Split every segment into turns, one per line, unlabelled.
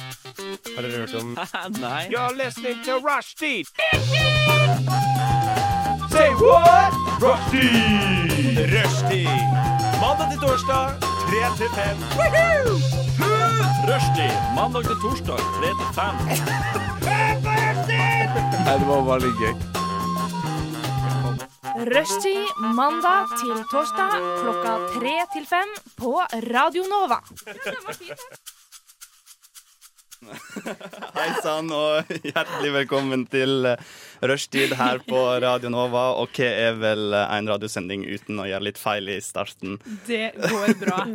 Har dere hørt om
Nei.
You're listening to Rushdie. Say what? Rushdie. Rushdie. Mandag til torsdag, 3 til 5.
Rushdie mandag til torsdag 3 til 5.
Nei, det var bare litt gøy.
Rushtid mandag til torsdag klokka tre til fem på Radio Nova.
Hei sann, og hjertelig velkommen til eh, rushtid her på Radio Nova. Og hva er vel eh, en radiosending uten å gjøre litt feil i starten?
Det går bra.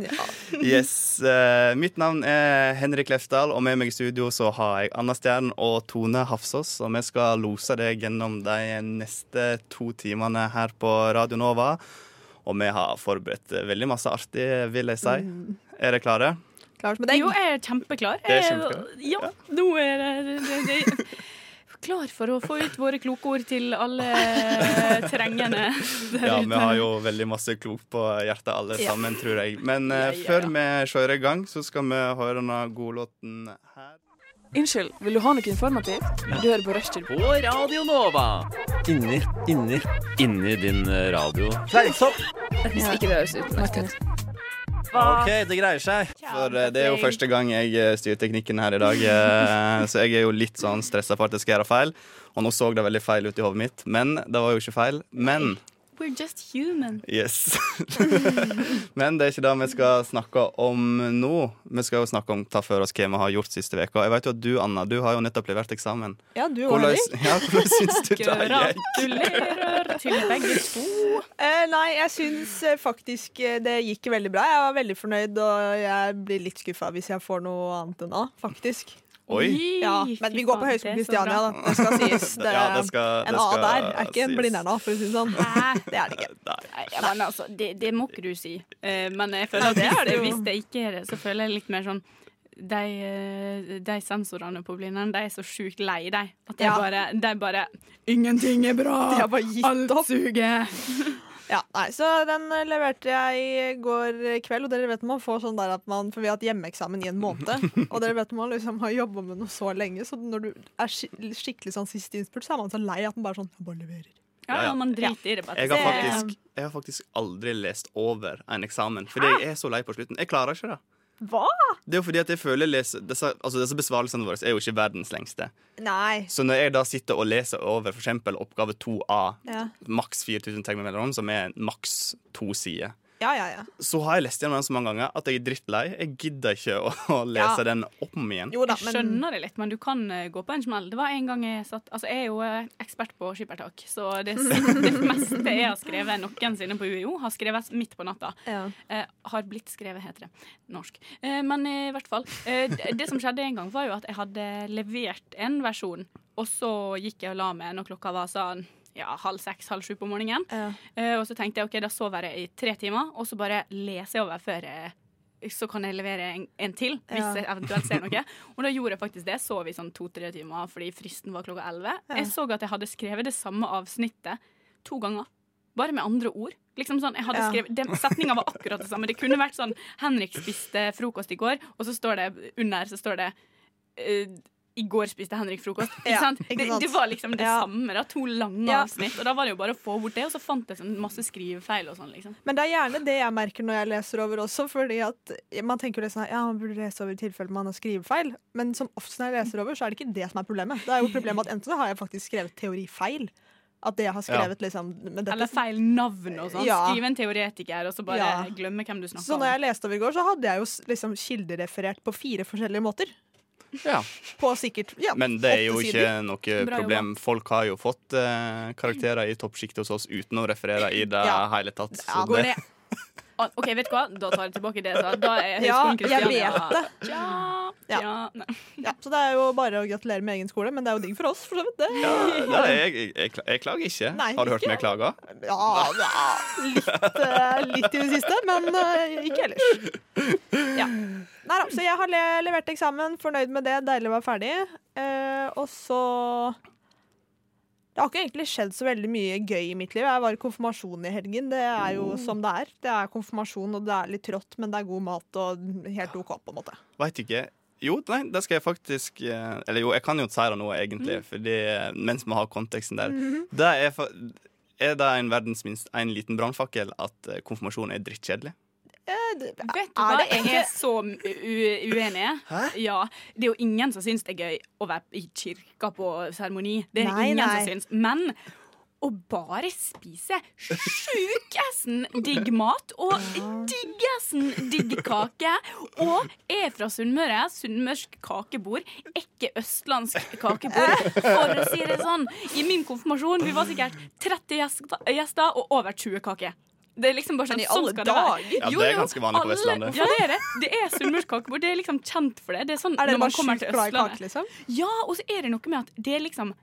Yes, eh, Mitt navn er Henrik Lefdal, og med meg i studio så har jeg Anna Stjern og Tone Hafsås. Og vi skal lose deg gjennom de neste to timene her på Radio Nova. Og vi har forberedt eh, veldig masse artig, vil jeg si. Er dere klare?
Klart med deg.
Jo, jeg er kjempeklar.
Det er
Jeg-
kjempeklar.
Ja, nå er det, det, det Klar for å få ut våre kloke ord til alle trengende der
Ja, vi
ute.
har jo veldig masse klokt på hjertet alle
Ja.
sammen, tror jeg. Men eh,
Ja, ja, ja.
før vi kjører i gang, så skal vi høre denne godlåten her.
Unnskyld, vil du ha noe informativt? Du hører på Rushtid.
På Radio Nova. Inni, inni, inni din eh, radio.
Hvis ikke det høres utenlandsk ut.
OK, det greier seg.
For eh, det er jo første gang jeg eh, styrer teknikken her i dag, eh, så jeg er jo litt sånn stressa for at jeg skal gjøre feil. Og nå så det veldig feil ut i hodet mitt, men det var jo ikke feil. Men
We're just human.
yes. men det er ikke det vi skal snakke om nå. Vi skal jo snakke om ta for oss hva vi har gjort siste uka. Jeg vet jo at du, Anna, du har jo nettopp levert eksamen.
Ja, du og
Hvordan,
Henrik.
ja, hvordan syns du det gikk?
Gratulerer til begge to.
Eh, nei, jeg syns eh, faktisk eh, det gikk veldig bra. Jeg var veldig fornøyd, og jeg blir litt skuffa hvis jeg får noe annet enn A, faktisk.
Oi.
Ja, men vi går på Høgskolen Kristiania, da. Det skal sies. Det,
Ja, det skal-
en
det
A
skal
der er ikke en
sies.
blindern-A, for å si det sånn. Det er det ikke.
Nei, ja, men altså, det, det må ikke du si. Eh, men jeg føler at hvis, det, hvis det ikke er det, så føler jeg litt mer sånn de, eh, de sensorene på Blindern, de er så sjukt lei deg. At de
Ja.
bare, de bare Ingenting er bra!
De har bare gitt
Alt
opp.
suger!
Ja, nei, så den eh, leverte jeg i går kveld, og dere vet man får sånn der at man For vi har hatt hjemmeeksamen i en måned, og dere vet man liksom har jobba med noe så lenge, så når du er skik- skikkelig sånn siste innspurt, så er man så lei at man bare sånn Jeg bare leverer.
Ja,
Ja, ja.
ja, man driter i det. på et
Jeg har,
sted.
faktisk, jeg har faktisk aldri lest over en eksamen, fordi jeg er så lei på slutten. Jeg klarer ikke det.
Hva?
Det er jo fordi at jeg føler les, disse, altså disse besvarelsene våre er jo ikke verdens lengste.
Nei.
Så når jeg da sitter og leser over f.eks. oppgave 2A,
Ja,
maks 4000 tegn med mellomrom, som er maks to sider,
ja, ja. ja.
så har jeg lest gjennom den så mange ganger at jeg er drittlei. Jeg gidder ikke å, å lese
Ja.
den om igjen.
Jo da,
Jeg
men
skjønner det litt, men du kan eh, gå på en smell. Det var en gang jeg satt Altså, jeg er jo eh, ekspert på skippertak, så det, det meste jeg har skrevet noensinne på UiO, har skrevet midt på natta.
ja.
Eh, har blitt skrevet, heter det. Norsk. Eh, men i hvert fall. Eh, d- det som skjedde en gang, var jo at jeg hadde levert en versjon, og så gikk jeg og la meg når klokka var sånn ja, halv seks, halv sju på morgenen.
Ja.
Eh, og så tenkte jeg OK, da sover jeg i tre timer, og så bare leser jeg over før jeg så kan jeg levere en, en til, hvis
Ja.
jeg eventuelt ser noe. Og da gjorde jeg faktisk det. Sov i sånn to-tre timer fordi fristen var klokka elleve.
Ja.
Jeg så at jeg hadde skrevet det samme avsnittet to ganger. Bare med andre ord. Liksom sånn, jeg hadde
Ja.
skrevet, den Setninga var akkurat det samme. Det kunne vært sånn 'Henrik spiste frokost i går', og så står det under så står det eh, 'I går spiste Henrik frokost'. Ikke
Ja,
sant?
ikke
Det,
sant?
det var liksom det
Ja.
samme. Da, to lange
Ja.
avsnitt. Og da var det jo bare å få bort det, og så fant jeg sånn masse skrivefeil og sånn. liksom
Men det er gjerne det jeg merker når jeg leser over også, fordi at man tenker jo litt sånn at, ja, man burde lese over i tilfelle man har skrivefeil, men som oftest når jeg leser over, så er det ikke det som er problemet. Det er jo problemet at enten så har jeg faktisk skrevet teorifeil, at det jeg har skrevet liksom med dette.
Eller feil navn og sånn.
Ja.
Skrive en teoretiker, og så bare
Ja.
glemme hvem du
Så
snakker
når
om.
jeg leste over i går, så hadde jeg jo s- liksom kildereferert på fire forskjellige måter.
Ja.
På sikkert ja,
Men det er jo
åtte
ikke
sider.
noe
Bra
problem. Folk har jo fått eh, karakterer i toppsjiktet hos oss uten å referere i det
Ja.
hele tatt.
Ja,
Så
går
det,
ned.
Ah, OK, vet du hva? Da tar jeg tilbake det jeg sa. Da er
Ja,
Høgskolen
jeg
Kristiania-
vet det.
Tja,
Ja.
tja. Nei.
Ja, så det er jo bare å gratulere med egen skole, men det er jo digg for oss, for så vidt. Det.
Ja, det er, jeg, jeg, jeg, kla- jeg klager ikke.
Nei,
Har du hørt
ikke.
meg klage?
Ja, ja litt, eh, litt i det siste, men eh, ikke ellers. Ja. Nei da, så jeg har le levert eksamen, fornøyd med det, deilig å være ferdig. Eh, og så Det har ikke egentlig skjedd så veldig mye gøy i mitt liv. Jeg var i konfirmasjon i helgen. Det er jo
Mm.
som det er. Det er konfirmasjon, og det er litt trått, men det er god mat og helt OK, på en måte.
Veit ikke. Jo, nei, det skal jeg faktisk eh, Eller jo, jeg kan jo si det nå, egentlig,
Mm.
fordi, eh, mens vi har konteksten der.
Mhm.
Det er, fa- er det en verdens minst en liten brannfakkel at eh, konfirmasjon er drittkjedelig?
Eh, det-
Vet du
Er
hva,
det
jeg
egentlig-
er så u- uenig. Ja, det er jo ingen som syns det er gøy å være i kirka på seremoni. Det er det
Nei,
ingen
nei.
som syns. Men å bare spise sjukessen digg mat og diggessen digg kake. Og jeg er fra Sunnmøre. Sunnmørsk kakebord, ikke østlandsk kakebord. For å si det sånn, i min konfirmasjon vi var sikkert 30 gjest- gjester og over 20 kaker. Det er liksom bare sånn,
Men i
sånn
alle
skal det være.
dager?
Ja,
Jo,
det er
jo,
ganske vanlig på
alle-
Vestlandet.
Ja, det er det. Det er sunnmørsk kakebord. Det er liksom kjent for det. Det er sånn
Er
når
dere
man
bare
kommer
sjukt
til
glad i kake,
Østlandet.
liksom?
Ja, og så er det noe med at det er liksom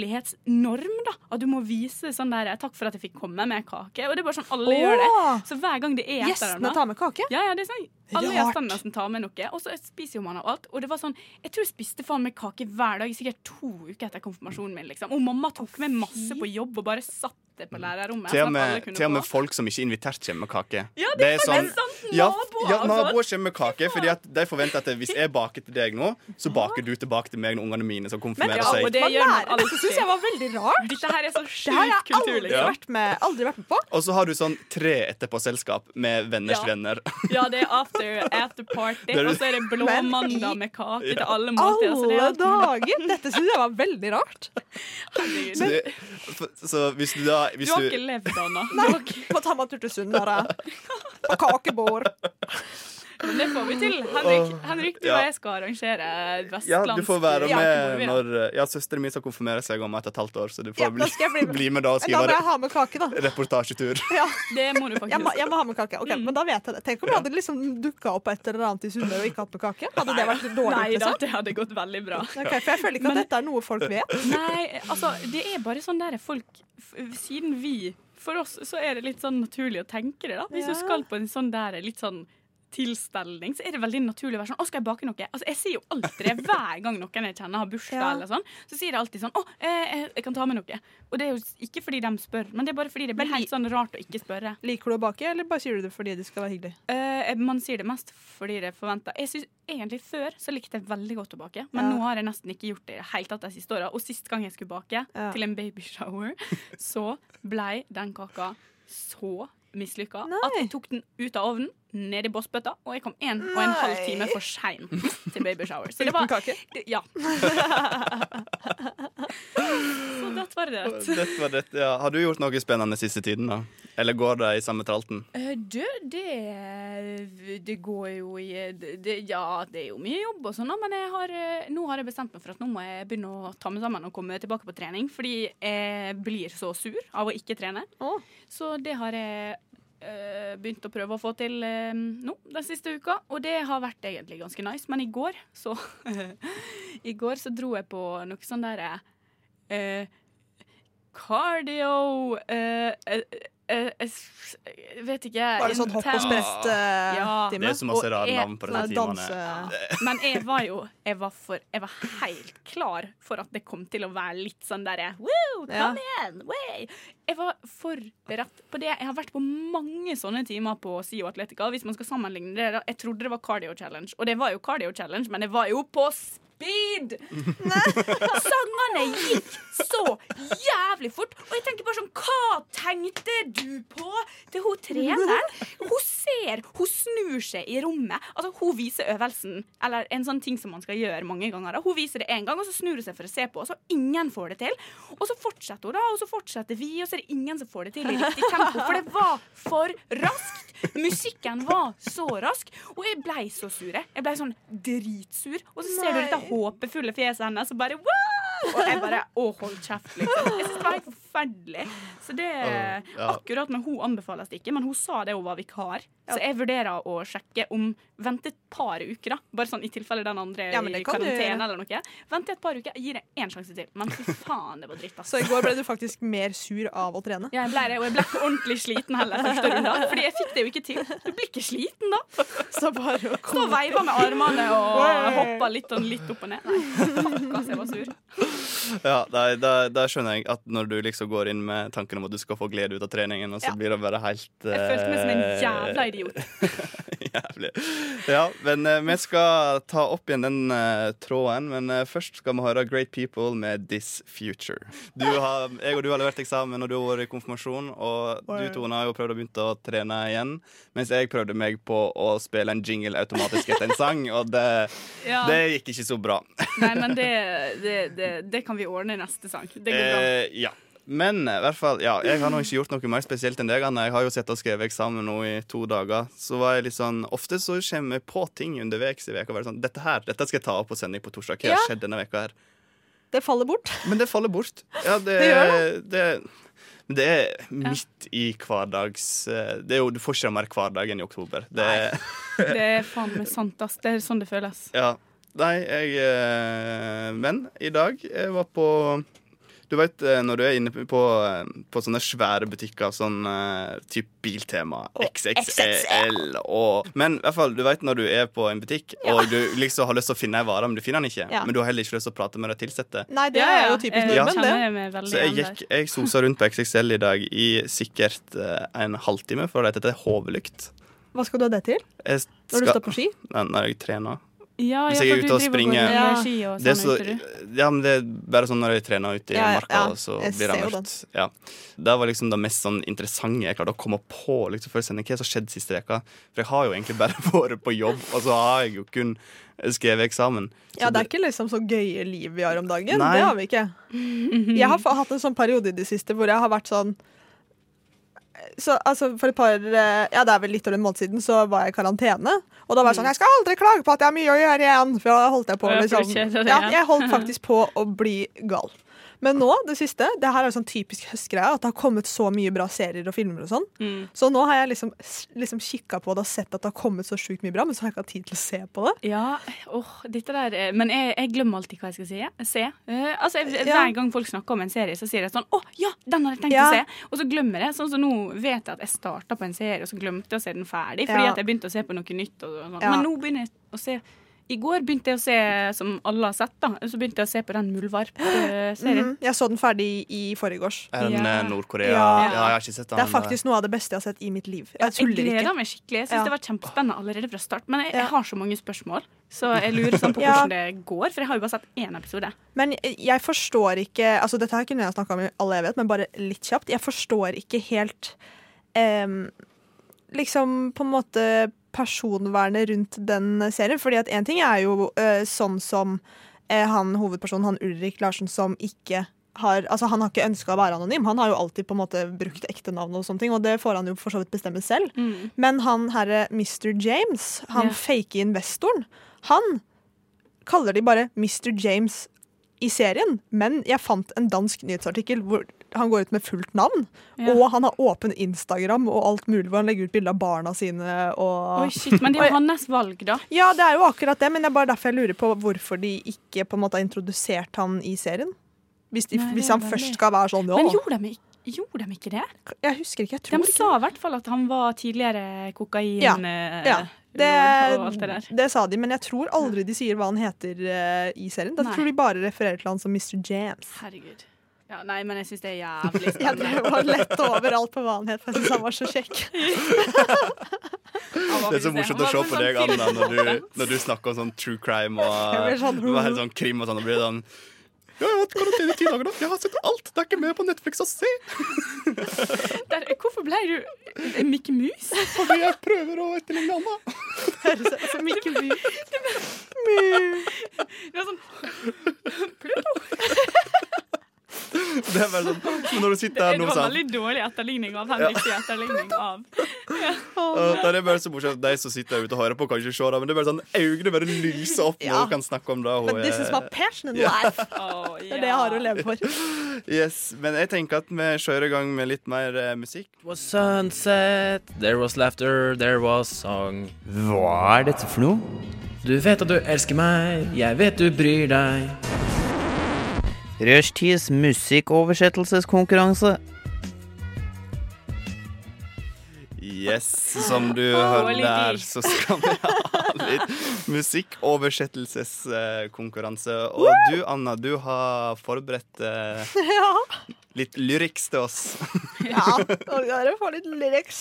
høflighetsnorm, da. At du må vise sånn der 'takk for at jeg fikk komme med kake'. Og det er bare sånn alle gjør
Åh!
det. Så hver gang det er et eller
Gjestene
annet-
tar med kake?
ja, ja, det er sånn. Alle
Rart.
gjestene nesten tar med noe, og så spiser jo man av alt. Og det var sånn, Jeg tror jeg spiste faen meg kake hver dag i sikkert to uker etter konfirmasjonen min. liksom. Og mamma tok med masse på jobb og bare satt det på lærerrommet.
Til og
sånn at alle
med,
kunne
til og med
få.
folk som ikke er invitert, kommer med kake.
Ja, det er sant,
sånn- ja,
naboer
ja,
og sånn.
naboer kommer med kake, fordi at de forventer at eh, hvis jeg baker til deg nå, så baker du tilbake til meg når ungene mine skal konfirmere
ja, og
seg.
det
Man
gjør man
lærer det. Det syns jeg
alltid.
var veldig rart.
Dette her er så
Det her har
sjuk
jeg
kultur,
aldri
liksom.
vært med, aldri vært med på.
Og så har du sånn tre etterpåselskap med venners
Ja.
venner.
Ja, det er after, after party,
er-
og så er det blå
Men i-
mandag med kake til alle måltider. Så det er
Alle dager! Dette syns jeg var veldig rart.
Så, det, for- så hvis du da hvis
Du har
du,
ikke levd, Anna.
Nei, må ta meg en tur til Sunnmøre. På kakebord.
Men Det får vi til. Henrik, Henrik du
Ja.
og jeg skal arrangere
Ja,
vestlandsk
du får være
jakebord,
med
vi da.
når Ja, søsteren min skal konfirmere seg om et og et halvt år, så du får
Ja, da
bli,
skal jeg bli med.
bli med da og
Da må
skrive
jeg ha med kake, da.
reportasjetur.
Ja,
Det må du
jeg, må,
faktisk.
jeg må ha med kake. Ok,
Mm.
men da vet jeg det. Tenk om jeg hadde liksom dukka opp et eller annet i Sunnmøre og ikke hatt med kake. Hadde det vært dårlig?
Nei da,
liksom?
det hadde gått veldig bra.
Ok, for jeg føler ikke at dette er noe folk vet.
Nei, altså, det er bare sånn der folk f- Siden vi For oss så er det litt sånn naturlig å tenke det, da. Hvis
Ja.
du skal på en sånn der litt sånn tilstelning, så er det veldig naturlig å være sånn Å, skal jeg bake noe? Altså, jeg sier jo alltid det hver gang noen jeg kjenner har bursdag
Ja.
eller sånn. Så sier jeg alltid sånn Å, eh, eh, jeg kan ta med noe. Og det er jo s- ikke fordi de spør, men det er bare fordi det
Men
blir
de-
helt sånn rart å ikke spørre.
Liker du å bake, eller bare sier du det fordi det skal være hyggelig?
Eh, man sier det mest fordi det er forventa. Jeg synes egentlig Før så likte jeg veldig godt å bake, men
Ja.
nå har jeg nesten ikke gjort det i det hele tatt de siste åra. Og sist gang jeg skulle bake,
Ja.
til en babyshower, så blei den kaka så mislykka
Nei.
at jeg tok den ut av ovnen, ned i bossbøtta, og jeg kom en og en halv
Nei.
time for sein til babyshower. Så det
Uten
var
kake?
Ja. så det var det.
Dette var dette, ja. Har du gjort noe spennende siste tiden, da? Eller går det i samme tralten?
Eh, Du, det, det går jo i det, det- Ja, det er jo mye jobb og sånn, da, men jeg har, eh, nå har jeg bestemt meg for at nå må jeg begynne å ta meg sammen og komme tilbake på trening, fordi jeg blir så sur av å ikke trene.
Å.
Så det har jeg eh, begynt å prøve å få til eh, nå den siste uka, og det har vært egentlig ganske nice. Men i går så I går så dro jeg på noe sånn derre eh, Cardio eh, eh, eh, eh, s- Jeg vet ikke.
Bare sånn hopp og eh,
intense- Ja.
Det
sprett-time?
er så masse
Og
rare
er-
navn på disse
Danse
timene.
Men jeg var jo jeg var, for, jeg var helt klar for at det kom til å være litt sånn derre Woo, kom
Ja.
igjen! Way! Jeg var forberedt på det. Jeg har vært på mange sånne timer på SIO Atletica. Hvis man skal sammenligne det, da. jeg trodde det var Cardio Challenge. Og det var jo Cardio Challenge, men det var jo på speed! Sangene gikk så jævlig fort. Og jeg tenker bare sånn Hva tenkte du på til hun treneren? Hun ser, hun snur seg i rommet. Altså, hun viser øvelsen, eller en sånn ting som man skal gjøre mange ganger. Da. Hun viser det én gang, og så snur hun seg for å se på, og så ingen får det til. Og så fortsetter hun, da, og så fortsetter vi, og så er det ingen som får det til i riktig tempo. For det var for raskt. Musikken var så rask, og jeg blei så sur. jeg. Jeg blei sånn dritsur. Og så ser du
Nei.
dette håpefulle fjeset hennes og bare wow! Og jeg bare Å, hold kjeft, liksom. Jeg synes det var helt forferdelig. Så det
ja.
Akkurat med hun anbefales det ikke, men hun sa det hun var vikar. Så jeg vurderer å sjekke om Vente et par uker, da. Bare sånn i tilfelle den andre
Ja,
er
men
i
det kan du gjøre.
karantene eller noe. Vente et par uker, jeg gir det én sjanse til. Men fy faen, det var dritt, ass.
Så i går ble du faktisk mer sur av å trene?
Ja, jeg ble det, og jeg ble ikke ordentlig sliten heller første runde. Fordi jeg fikk det jo ikke til. Du blir ikke sliten da.
Så bare å
Stå og
komme
veiva med armene og hoppa litt, sånn litt opp og ned. Nei, fuck, ass, jeg var sur.
Ja, da, da, da skjønner jeg at når du liksom går inn med tanken om at du skal få glede ut av treningen, og så
Ja.
blir det bare helt
Jeg følte meg som en
eh,
jævla idiot.
Jævlig. Ja, men eh, vi skal ta opp igjen den eh, tråden, men eh, først skal vi høre Great People med This Future. Du har, jeg og du har levert eksamen, og du har vært i konfirmasjon, og du, Tone, har jo prøvd å begynne å trene igjen, mens jeg prøvde meg på å spille en jingle automatisk etter en sang, og det,
Ja.
det gikk ikke så bra.
Nei, men det, det, det, det kan vi ordne i neste sang. Det går bra.
Eh, ja. Men eh, i hvert fall, ja, jeg har nå ikke gjort noe mer spesielt enn deg, Anne. Jeg har jo sett og skrevet eksamen nå i to dager. Så var jeg litt sånn, Ofte så kommer jeg på ting underveis i veka. Bare sånn, dette her, dette skal jeg ta opp og sende på torsdag. Hva har
Ja.
skjedd denne veka her?
Det faller bort.
Men det faller bort. Ja, det,
Det
det. men det er midt i hverdags eh, det er jo, Du får ikke mer hverdag enn i oktober. Det,
Det er faen meg sant, ass. Det er sånn det føles.
ja. Nei, jeg eh, Men i dag jeg var på Du vet eh, når du er inne på, eh, på sånne svære butikker, sånn eh, typ Biltema, XXL og Men i hvert fall, du vet når du er på en butikk og du liksom har lyst til å finne ei vare, men du finner den ikke.
Ja.
Men du har heller ikke lyst til å prate med de ansatte.
Nei, det er jo typisk
jeg,
nordmenn, det.
Eh, kjenner meg veldig
Så jeg
igjen
gikk, jeg sosa rundt på XXL i dag i sikkert eh, en halvtime for å lete etter hovelykt.
Hva skal du ha det til?
Jeg
Når du står på ski?
Nei, Når jeg trener.
der. Ja,
Hvis
ja,
jeg er
for
ute
du
og
driver
springer-
går
Ja.
med ski og
Det er,
sånn,
så,
vet du.
ja, men det er bare sånn når jeg trener ute i
Ja,
marka,
ja.
og så
Jeg
blir det
ser jo
mørkt. Ja. Det var liksom det mest sånn interessante jeg klarte å komme på liksom, før sending. Hva som skjedde siste veka For jeg har jo egentlig bare vært på jobb, og så har jeg jo kun skrevet eksamen. Så
Ja, det er ikke liksom så gøye liv vi har om dagen.
Nei.
Det har vi ikke.
Mhm.
Jeg har fa- hatt en sånn periode i det siste hvor jeg har vært sånn så, altså, For et par eh, Ja, det er vel litt over en måned siden, så var jeg i karantene. Og da var jeg sånn Jeg skal aldri klage på at jeg har mye å gjøre igjen! For da holdt jeg på
Mhm. Ja, for du
liksom
kjeder deg
Ja,
igjen.
jeg holdt faktisk på å bli gal. Men nå, det siste, det her er jo sånn typisk høstgreie, at det har kommet så mye bra serier og filmer og sånn.
Mm.
Så nå har jeg liksom, s- liksom kikka på det og sett at det har kommet så sjukt mye bra, men så har jeg ikke hatt tid til å se på det.
Ja, åh, dette der eh, Men jeg, jeg glemmer alltid hva jeg skal si. se. Eh, altså, jeg,
Ja.
Hver gang folk snakker om en serie, så sier jeg sånn 'Å, ja, den har jeg tenkt
Ja.
å se'. Og så glemmer jeg. Sånn som nå vet jeg at jeg starta på en serie, og så glemte jeg å se den ferdig. Fordi
Ja.
at jeg begynte å se på noe nytt. Og, sånn.
Ja.
Men nå begynner jeg å se I går begynte jeg å se, som alle har sett, da, så begynte jeg å se på den Muldvarp-serien.
Mhm. Jeg så den ferdig i forgårs.
Er den
Ja.
eh, Nord-Korea ja.
Ja.
jeg har ikke sett eh, den.
Det er faktisk noe av det beste jeg har sett i mitt liv. Jeg
Jeg
tuller
gleder
ikke.
meg skikkelig. Jeg synes
Ja.
det var kjempespennende allerede fra start. Men jeg,
Ja.
jeg har så mange spørsmål, så jeg lurer sånn på
Ja.
hvordan det går. For jeg har jo bare sett én episode.
Men eh, jeg forstår ikke altså Dette her kunne jeg snakka om i all evighet, men bare litt kjapt. Jeg forstår ikke helt em, Liksom på en måte personvernet rundt den serien. Fordi at én ting er jo eh, sånn som eh, han hovedpersonen, han Ulrik Larsen, som ikke har Altså han har ikke ønska å være anonym. Han har jo alltid på en måte brukt ekte navn og sånne ting, og det får han jo for så vidt bestemme selv. Men han herre Mr. James, han
Mm. Ja.
fake investoren, han kaller de bare Mr. James i serien. Men jeg fant en dansk nyhetsartikkel hvor han går ut med fullt navn.
Ja.
Og han har åpen Instagram og alt mulig hvor han legger ut bilde av barna sine og
Oi, shit, Men det er jo hans valg, da.
Ja, det er jo akkurat det, men det er bare derfor jeg lurer på hvorfor de ikke på en måte har introdusert han i serien. Hvis, de,
Nei, det
hvis
er
han
veldig-
først skal være sånn, ja.
Men gjorde de, ikk- gjorde de ikke det?
Jeg husker ikke, jeg
De
tror ikke
sa i hvert fall at han var tidligere kokain...
Ja,
eh,
ja,
lord og alt det
det,
der.
det sa de, men jeg tror aldri de sier hva han heter eh, i serien. Jeg
Nei.
tror de bare refererer til han som Mr. James.
Herregud. Ja, nei, men jeg syns det er jævlig
Jeg
spennende.
drev og lette overalt på hva han het, for jeg synes han var så kjekk.
Det er så morsomt å se på deg,
sånn
Anna, når du, når du snakker om sånn true crime og
sånn Jeg blir sånn-
du er helt sånn krim og sånn. Og blir sånn ja, jeg har hatt karantene i ti dager nå. Jeg har sett alt. Det er ikke mer på Netflix å se.
Der, hvorfor ble du Mikke Mus?
Fordi jeg prøver å etterligne Anna.
Høres ut som Mikke Mu.
Det var sånn,
Det er bare sånn, men når du
det,
sitter her nå
var en
sånn,
veldig dårlig etterligning av Henriks etterligning av
og Det er bare så morsomt De som sitter her ute og hører på, kan ikke se det, men det er bare sånn øynene bare lyser opp når
Ja.
hun kan snakke om det. og
But
Hun
this is my
er,
passion in
Ja.
life.
Å,
Det er det jeg har å
ja.
leve for.
yes, men jeg tenker at vi kjører i gang med litt mer eh, musikk.
It was sunset, there was laughter, there was song. Hva er dette for noe? Du vet at du elsker meg, jeg vet du bryr deg.
Rushtids musikkoversettelseskonkurranse.
Yes, som du
Åh,
hører
litt
der,
digg.
så skal vi ha litt musikkoversettelseskonkurranse. Og du, Anna, du har forberedt eh,
Ja.
litt lyriks til oss.
Ja, og dere får litt lyrics.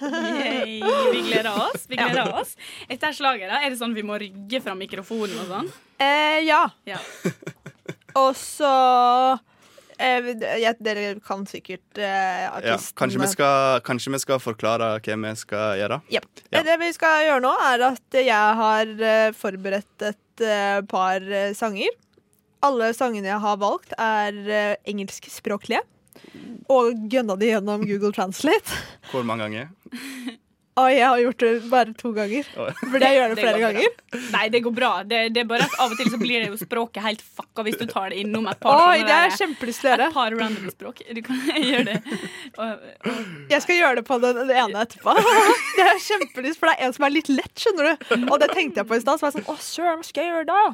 Yay. Vi gleder oss. Vi gleder oss. Etter slaget, da, er det sånn vi må rygge fra mikrofonen og sånn?
Eh, ja.
Ja.
Og så eh, jeg, Dere kan sikkert eh,
Ja,
artisten
kanskje, vi skal, kanskje vi skal forklare hva vi skal gjøre?
Jep.
Ja.
Eh, Det vi skal gjøre nå, er at jeg har eh, forberedt et eh, par eh, sanger. Alle sangene jeg har valgt, er eh, engelskspråklige. Og gønna de gjennom Google Translate.
Hvor mange ganger?
Og jeg har gjort det bare to ganger. Burde jeg gjøre det flere
går bra.
ganger?
Nei, det går bra. Det, det er bare at av og til så blir det jo språket helt fucka hvis du tar det innom et par
Oi,
sånne
det er
der-
kjempelyst til å gjøre.
Et par random språk. Du kan gjøre det. Og, og,
Jeg skal gjøre det på den, den ene etterpå. Det er kjempelyst, for det er en som er litt lett, skjønner du. Og det tenkte jeg på i stad, så var jeg sånn Å, søren, hva skal jeg gjøre da?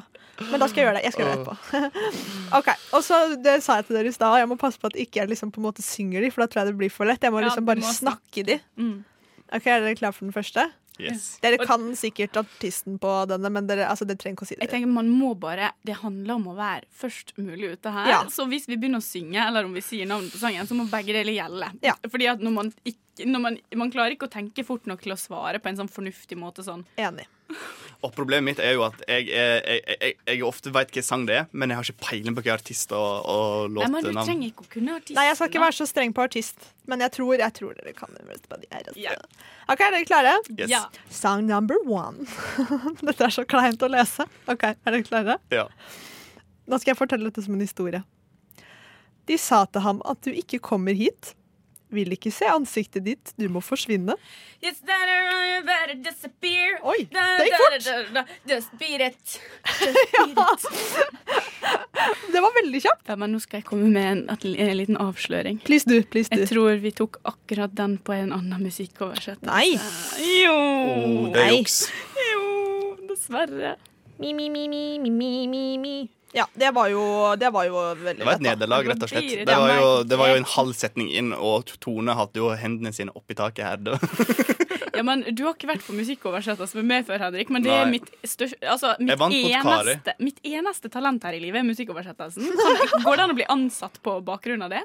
Men da skal jeg gjøre det. Jeg skal gjøre det etterpå. OK. Og så det sa jeg til dere i stad, jeg må passe på at ikke jeg liksom på en måte synger de, for da tror jeg det blir for lett. Jeg må
Ja, du
liksom bare
må
snakke de.
Mm.
OK, er dere klare for den første?
Yes.
Dere kan sikkert artisten på denne, men dere, altså, dere trenger ikke å si
jeg
det.
tenker man må bare, Det handler om å være først mulig ute her.
Ja.
Så hvis vi begynner å synge, eller om vi sier navnet på sangen, så må begge deler gjelde.
Ja.
Fordi at når man ikke når man, man klarer ikke å tenke fort nok til å svare på en sånn fornuftig måte sånn.
Enig.
Og problemet mitt er jo at jeg, er- jeg, jeg, jeg ofte veit hvilken sang det er, men jeg har ikke peiling på hvilken artist og, og
Nei, men du
låtnavn.
trenger ikke å kunne artisten.
Nei, jeg skal ikke
da.
være så streng på artist, men jeg tror, jeg tror dere kan det på de her. altså.
Ja.
OK, er dere klare?
Yes.
Ja.
Song number one. Dette er så kleint å lese. Ok, Er dere klare?
Ja.
Nå skal jeg fortelle dette som en historie. De sa til ham at du ikke kommer hit. Vil ikke se ansiktet ditt, du må forsvinne.
Yes, that are you better disappear.
Oi,
Da,
det gikk
da,
fort.
da, da, da, Just beat it.
Det var veldig kjapt.
Ja, men nå skal jeg komme med en, at- en liten avsløring.
Please du, please
Jeg
du.
tror vi tok akkurat den på en annen musikkoversettelse.
Nei.
Jo.
Oh,
Mm,
det er
Nei.
juks.
jo, dessverre.
Mi, mi, mi, mi, mi, mi, mi, mi. Ja, det var jo, det var jo veldig
Det var et
lett, da.
nederlag, rett og slett.
Det
Det var jo,
var-
det var jo en halv setning inn, og Tone hadde jo hendene sine oppi taket her. Det var-
Ja, men Du har ikke vært på musikkoversettelse med meg før, Henrik. Men det er
Nei.
mitt, største, altså, mitt,
Jeg vant mot
eneste, mitt eneste talent her i livet er musikkoversettelsen. Kan jeg- Går det an å bli ansatt på bakgrunn av det?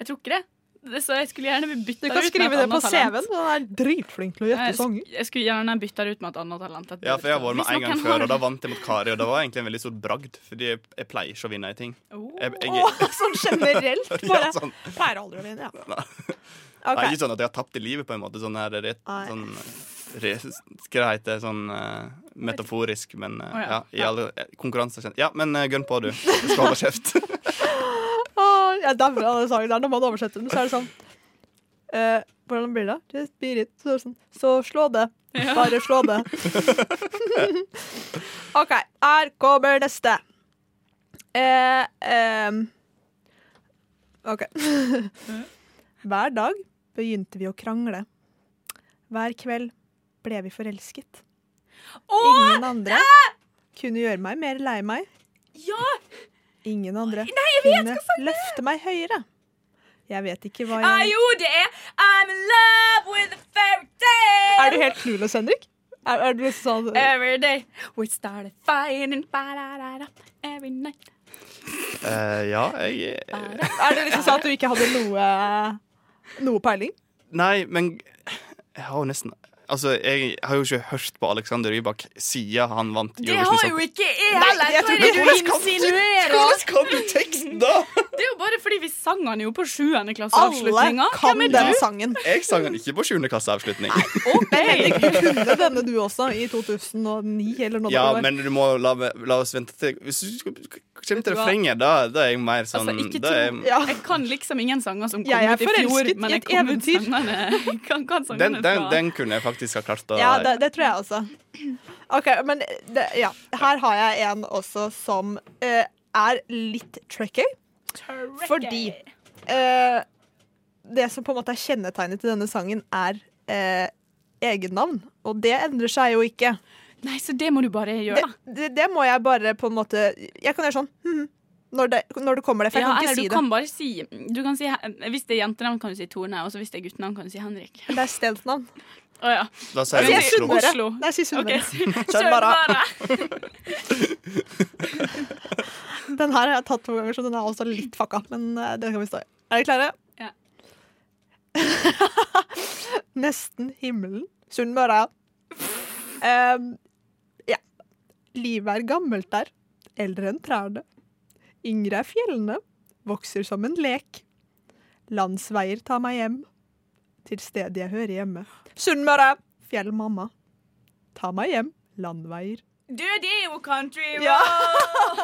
Jeg tror ikke det. Det- Så jeg skulle gjerne bytta
Du
ut
kan skrive det på CV-en.
talent.
Han er dritflink til å
Jeg
gjette sanger.
sk- Jeg skulle gjerne bytta det ut med et annet talent. etter-
Ja, for jeg har vært med
Hvis
en gang
noen har-
før, og da vant jeg mot Kari, og det var egentlig en veldig stor bragd, fordi jeg, jeg pleier ikke å vinne i ting.
Oh.
Jeg, jeg,
Å, sånn generelt, bare.
ja, sånn.
Pleier aldri å vinne, ja.
Det er
Ok,
ikke sånn at jeg har tapt i livet, på en måte. Sånn her rett,
Nei.
sånn, re, Hva heter det? Sånn eh, metaforisk, men eh,
Å, ja.
ja. I alle eh, konkurranser kjent. Ja, men eh, gønn på, du. Jeg skal holde kjeft.
Åh, jeg dauer av den sangen der. Når man oversetter den, så er det sånn eh, Hvordan blir det? Just beat it. Så, er det sånn, så slå det. Bare slå det. OK, her kommer neste. Eh, em, OK. Hver dag begynte vi å krangle. Hver kveld ble vi forelsket.
Å,
Ingen andre kunne gjøre meg mer lei meg.
ja!
Ingen andre kunne løfte meg høyere. Jeg vet ikke hva
Ah,
jeg
jo, det er I'm in love with a fairy tale.
Er du helt clueless, Henrik? Er, er du sånn
Every day we started fighting ba-da-da-da, every night.
Eh, ja, jeg
Er det liksom sånn at du ikke hadde noe noe peiling?
Nei, men jeg har jo nesten Altså, jeg har jo ikke hørt på Alexander Rybak siden han vant
Det har jo
Eurovision.
ikke jeg heller!
sånn.
Hva
jeg
er
tror
det
ikke
du insinuerer?
Kan du teksten, da?!
Det er jo bare fordi vi sang han jo på sjuende
Alle
klasseavslutninga.
kan
Hvem er
den
du?
sangen.
Jeg sang den ikke på 7. klasseavslutning.
Men Henrik, du kunne denne du også, i 2009 eller noe.
Ja,
det var.
men du må la, la oss vente til Hvis du skal- kommer til refrenget, da, da er jeg mer sånn
Altså, ikke
da er jeg-
ja.
Jeg kan liksom ingen sanger som kom
Jeg er
ut i fjor,
forelsket i
men jeg
et
kan ut
eventyr.
sangene. Kan, kan
den,
sangene
den,
fra-
den kunne jeg faktisk ha klart å
ja det, det tror jeg også. OK, men det, ja. Her har jeg en også som eh, er litt tricky. Fordi eh, det som på en måte er kjennetegnet til denne sangen, er eh, egennavn. Og det endrer seg jo ikke.
Nei, så det må du bare
Det,
gjøre.
det, det må jeg bare på en måte Jeg kan gjøre sånn mhm, når, det, når det kommer det, for jeg
Ja,
kan
eller
ikke si
du kan bare si, du kan si Hvis det er jentenavn, kan du si Tone. Og så hvis det er guttenavn, kan du si Henrik.
det. Det er stedsnavn.
Å ja.
Da sier
Altså, Jeg
jeg
sier
Oslo.
Sunnmøre.
Oslo.
Nei, jeg sier Sunnmøre.
Ok.
Kjør bare.
Bare.
Den her har jeg tatt to ganger, så den er også litt fucka. Men eh, det kan vi stå i. Er dere klare?
Ja.
Nesten himmelen. Sunnmøre. Ehm, ja. Livet er gammelt der. Eldre enn trærne. Yngre er fjellene. Vokser som en lek. Landsveier tar meg hjem. Til stedet jeg hører hjemme. Sunnmøre! Fjell mamma. Ta meg hjem. Landveier.
Du, det er jo country road!
Ja.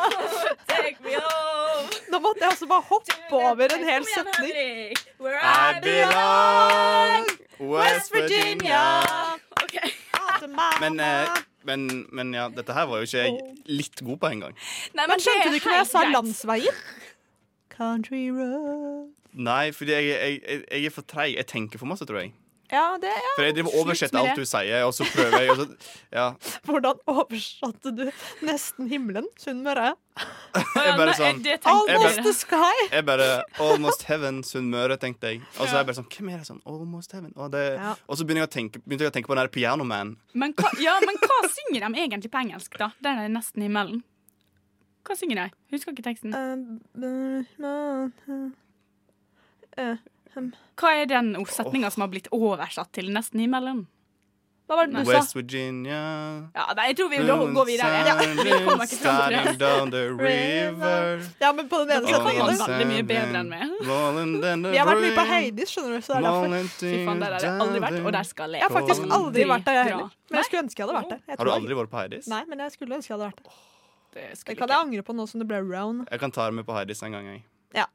Take me home!
Nå måtte jeg altså bare hoppe over en hel setning.
Where
I belong West Virginia.
OK.
Men, eh, men, men ja, dette her var jo ikke jeg litt god på engang.
Nei,
Men skjønte
det er
du ikke når jeg
helt
sa
greit.
landsveier? Country road
Nei, fordi jeg, jeg, jeg, jeg er for treig. Jeg tenker for masse, tror jeg.
Ja, det ja.
For jeg driver og oversetter
med
alt
det.
du sier, og så prøver jeg. Og så, ja.
Hvordan oversatte du 'nesten himmelen', Sunnmøre?
Å, ja,
bare
nei,
sånn-
det tenkte jeg
Almost
bare.
the sky!
Jeg bare Almost heaven, Sunnmøre, tenkte jeg. Og så er jeg bare sånn Hvem er det sånn? Almost heaven. Og, det,
Ja.
og så begynner jeg å tenke, begynte jeg å tenke på den der Piano Man.
Men hva, ja, men hva synger de egentlig på engelsk, da? Den er nesten himmelen. Hva synger de? Husker ikke teksten. eh, Hva er den setninga som har blitt oversatt til nesten himmelen? Hva var det du sa?
West Virginia.
Ja, nei, jeg tror vi lo- går videre. Ja, vi kommer ikke fram til
Starting
det.
down the river.
Ja, men på den ene
kan man
setningen
da. veldig mye bedre enn meg.
meg.
Vi har vært mye på Heidis, skjønner du. Så det er derfor.
Fy faen, der har jeg aldri vært, og der skal jeg.
Jeg har faktisk aldri vært der, jeg heller. Men jeg skulle ønske jeg hadde vært der. Jeg
Har du
tror-
aldri vært på Heidis?
Nei, men jeg skulle ønske jeg hadde vært der.
Det
Det
skulle
kan jeg angre på nå som det ble round.
Jeg kan ta deg med på Heidis en gang. Jeg.
Ja.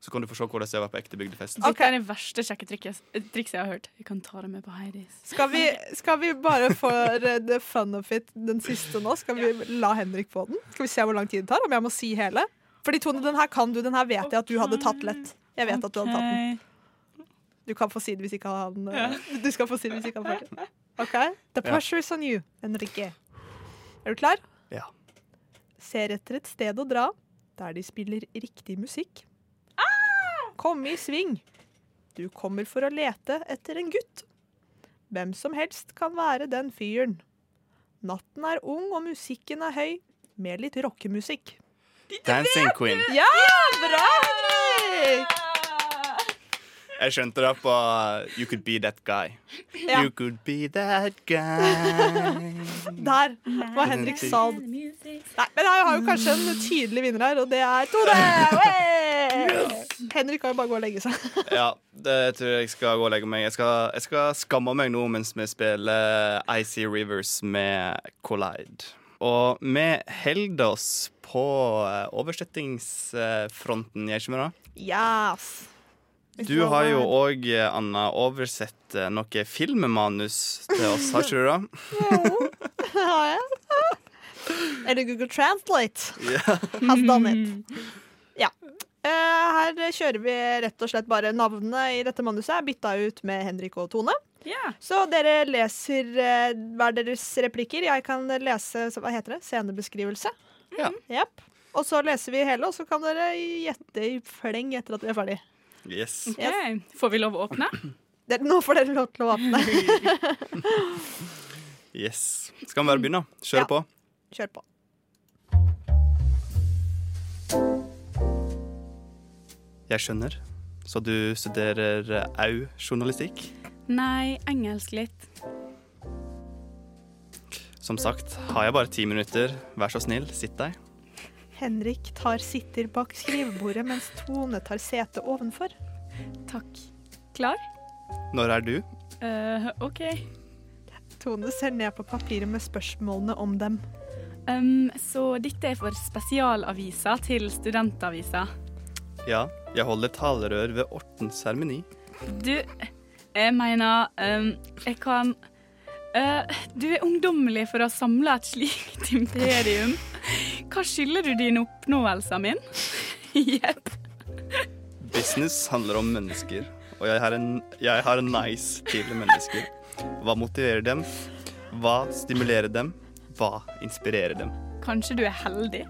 Så kan du få se hvordan jeg var på ekte bygdefest.
Dette er det verste sjekketrikset trikset jeg har hørt. Vi kan ta det med på Heidis.
Skal vi, skal vi bare for eh, the fun of it, den siste nå, skal vi la Henrik få den? Skal vi se hvor lang tid det tar, om jeg må si hele? Fordi Tone, den her kan du, den her vet jeg at du hadde tatt lett. Jeg vet at du hadde tatt den. Du kan få si det hvis ikke han eh, Du skal få si det hvis ikke han får det. OK? The pressure is on you, Henrique. Er du klar?
Ja.
Ser etter et sted å dra der de spiller riktig musikk. Kom i sving. Du kommer for å lete etter en gutt. Hvem som helst kan være den fyren. Natten er ung og musikken er høy, med litt rockemusikk.
Dancing Queen.
Ja, bra, Henrik!
Jeg skjønte det på uh, You Could Be That Guy.
Ja.
You could be that guy.
Der var Henrik Sald. Nei, men jeg har jo kanskje en tydelig vinner her, og det er Tone! Hey! Henrik kan jo bare gå og legge seg.
ja, det tror jeg jeg skal gå og legge meg. Jeg skal, jeg skal skamme meg nå mens vi spiller Icy Rivers med Collide. Og vi holder oss på uh, oversettingsfronten, gjør ikke vi det?
Yes.
Du har jo òg, Anna, oversett eh, noe filmmanus til oss, har ikke du det?
Har jeg? Eller Google Translate has done it. Ja. Eh, her kjører vi rett og slett bare navnene i dette manuset. er Bytta ut med Henrik og Tone.
Ja.
Så dere leser eh, hver deres replikker. Jeg kan lese så hva heter det? scenebeskrivelse. Mm-hmm.
Ja.
Jep. Og så leser vi hele, og så kan dere gjette i fleng etter at vi er ferdig.
Yes.
Ok. Får vi lov å åpne?
Dere- Nå får dere lov til å åpne.
yes. Skal vi bare begynne? Kjøre
Ja.
på?
Kjør på.
Jeg skjønner. Så du studerer eh, au journalistikk?
Nei, engelsk litt.
Som sagt, har jeg bare ti minutter. Vær så snill, sitt deg.
Henrik tar sitter bak skrivebordet, mens Tone tar sete ovenfor.
Takk. Klar?
Når er du?
Eh, OK.
Tone ser ned på papiret med spørsmålene om dem.
Um, så dette er for spesialavisa til studentavisa.
Ja, jeg holder talerør ved Orten seremoni.
Du, jeg mener um, Jeg kan Eh, Du er ungdommelig for å samle et slikt imperium. Hva skylder du dine oppnåelser min? Jepp.
Business handler om mennesker, og jeg har en, jeg har en nice til mennesker. Hva motiverer dem? Hva stimulerer dem? Hva inspirerer dem?
Kanskje du er heldig?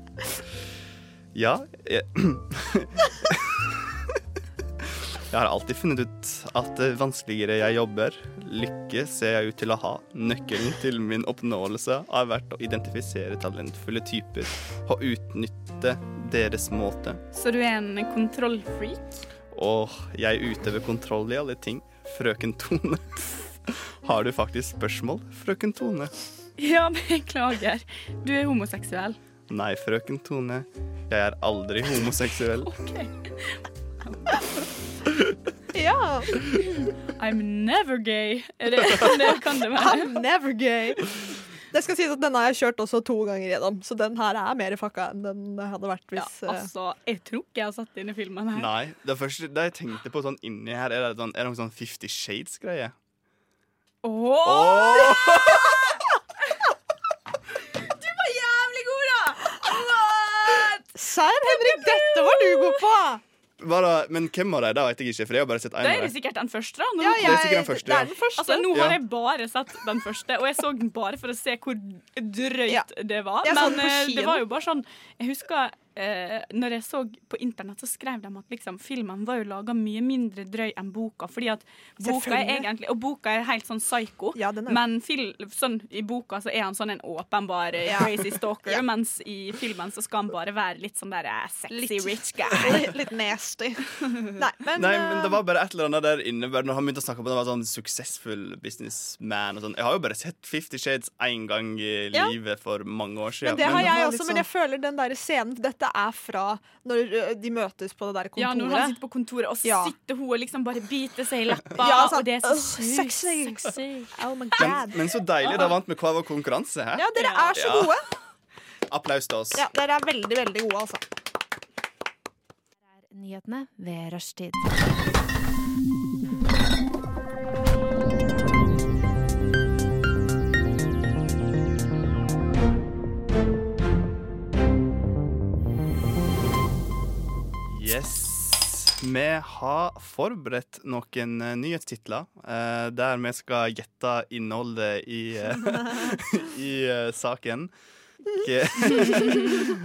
Ja, jeg Jeg har alltid funnet ut at det vanskeligere jeg jobber, lykke ser jeg ut til å ha. Nøkkelen til min oppnåelse har vært å identifisere talentfulle typer og utnytte deres måte.
Så du er en kontrollfreak?
Og jeg utøver kontroll i alle ting. Frøken Tone. Har du faktisk spørsmål, frøken Tone?
Ja, beklager. Du er homoseksuell.
Nei, frøken Tone. Jeg er aldri homoseksuell.
Ja.
I'm never gay. Er det, det kan det være.
I'm never gay. Det skal sies at Denne har jeg kjørt også to ganger gjennom, så den her er mer fucka enn den hadde vært
Ja,
hvis eh,
altså, jeg tror ikke jeg har sett denne filmen her.
Nei, det første det jeg tenkte på sånn inni her, er det, sånn, er det noen sånn Fifty Shades-greie?
Åh,
Åh!
du var jævlig god, da! What?
Serr, Henrik, dette var du god på!
Bare, men hvem av dem da, vet jeg ikke, for jeg har bare sett én
Da er
av
det
dem.
sikkert den første. da. Nå-
Ja,
er sikkert den første,
det
ja.
er den første.
Altså, Nå har
Ja.
jeg bare sett den første, og jeg så den bare for å se hvor drøyt
Ja.
det var.
Jeg så den
Men
på
eh, det
kino.
var jo bare sånn Jeg husker eh, når jeg så på internett, så skrev de at liksom, filmen var jo laga mye mindre drøy enn boka. Fordi at boka er
Selvfølgelig.
egentlig Og boka er helt sånn psyko.
Ja, den er-
Men fil, sånn, i boka så er han sånn en åpenbar eh,
Ja.
crazy stalker,
Ja.
mens i filmen så skal han bare være litt sånn der eh, sexy
Litt-
rich guy.
Litt- Litt nasty. Nei, men,
Nei, men det
eh,
var bare et eller annet der inne bare Når han begynte å snakke om at han var sånn suksessfull businessman og sånn. Jeg har jo bare sett Fifty Shades én gang i
Ja.
livet for mange år siden.
Men det har
men-
jeg
var litt sånn-
også, men jeg føler den der scenen Dette er fra når ø, de møtes på det der
Ja, når han
kontoret.
sitter på kontoret, og så
Ja.
sitter hun og liksom bare biter seg i leppa,
Ja, sant.
og det er så
Åh,
sjukt
sexy.
sexy.
Oh my
men,
god.
men så deilig. Da vant vi hver vår konkurranse. Hæ?
Ja, dere er så
Ja.
gode.
Applaus til oss.
Ja, dere er veldig, veldig gode, altså.
Nyhetene ved rushtid.
Yes. Vi har forberedt noen eh, nyhetstitler eh, der vi skal gjette innholdet i, eh, i eh, saken. Ikke-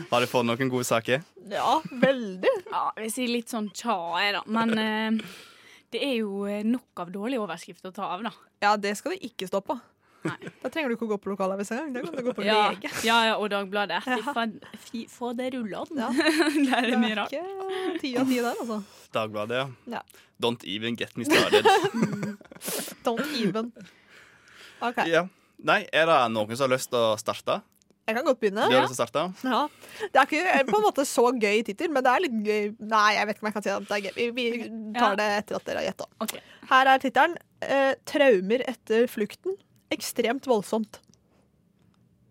har du fått noen gode saker?
Ja, veldig.
Ja, vi sier litt sånn tja, jeg, da. Men eh, det er jo eh, nok av dårlige overskrifter å ta av, da.
Ja, det skal du ikke stå på.
Nei.
Da trenger du ikke å gå på lokalavis engang. Da kan du gå på
Ja,
VG.
ja, ja og Dagbladet. Fy faen, fy- Få det rullende.
Ja.
det er
Det
mye
er
rart.
ikke ti av ti der, altså.
Dagbladet, ja.
Ja.
Don't even get me started.
Don't even. OK.
ja. Nei, Er det noen som har lyst til å starte?
Jeg kan godt begynne.
Du har lyst til å starte?
Ja. Det er ikke eh, på en måte så gøy tittel, men det er litt gøy. Nei, jeg vet ikke om jeg kan si at det er gøy. Vi, vi
Ja.
tar det etter at dere har gjetta.
Ok.
Her er tittelen. Eh, 'Traumer etter flukten'. Ekstremt voldsomt.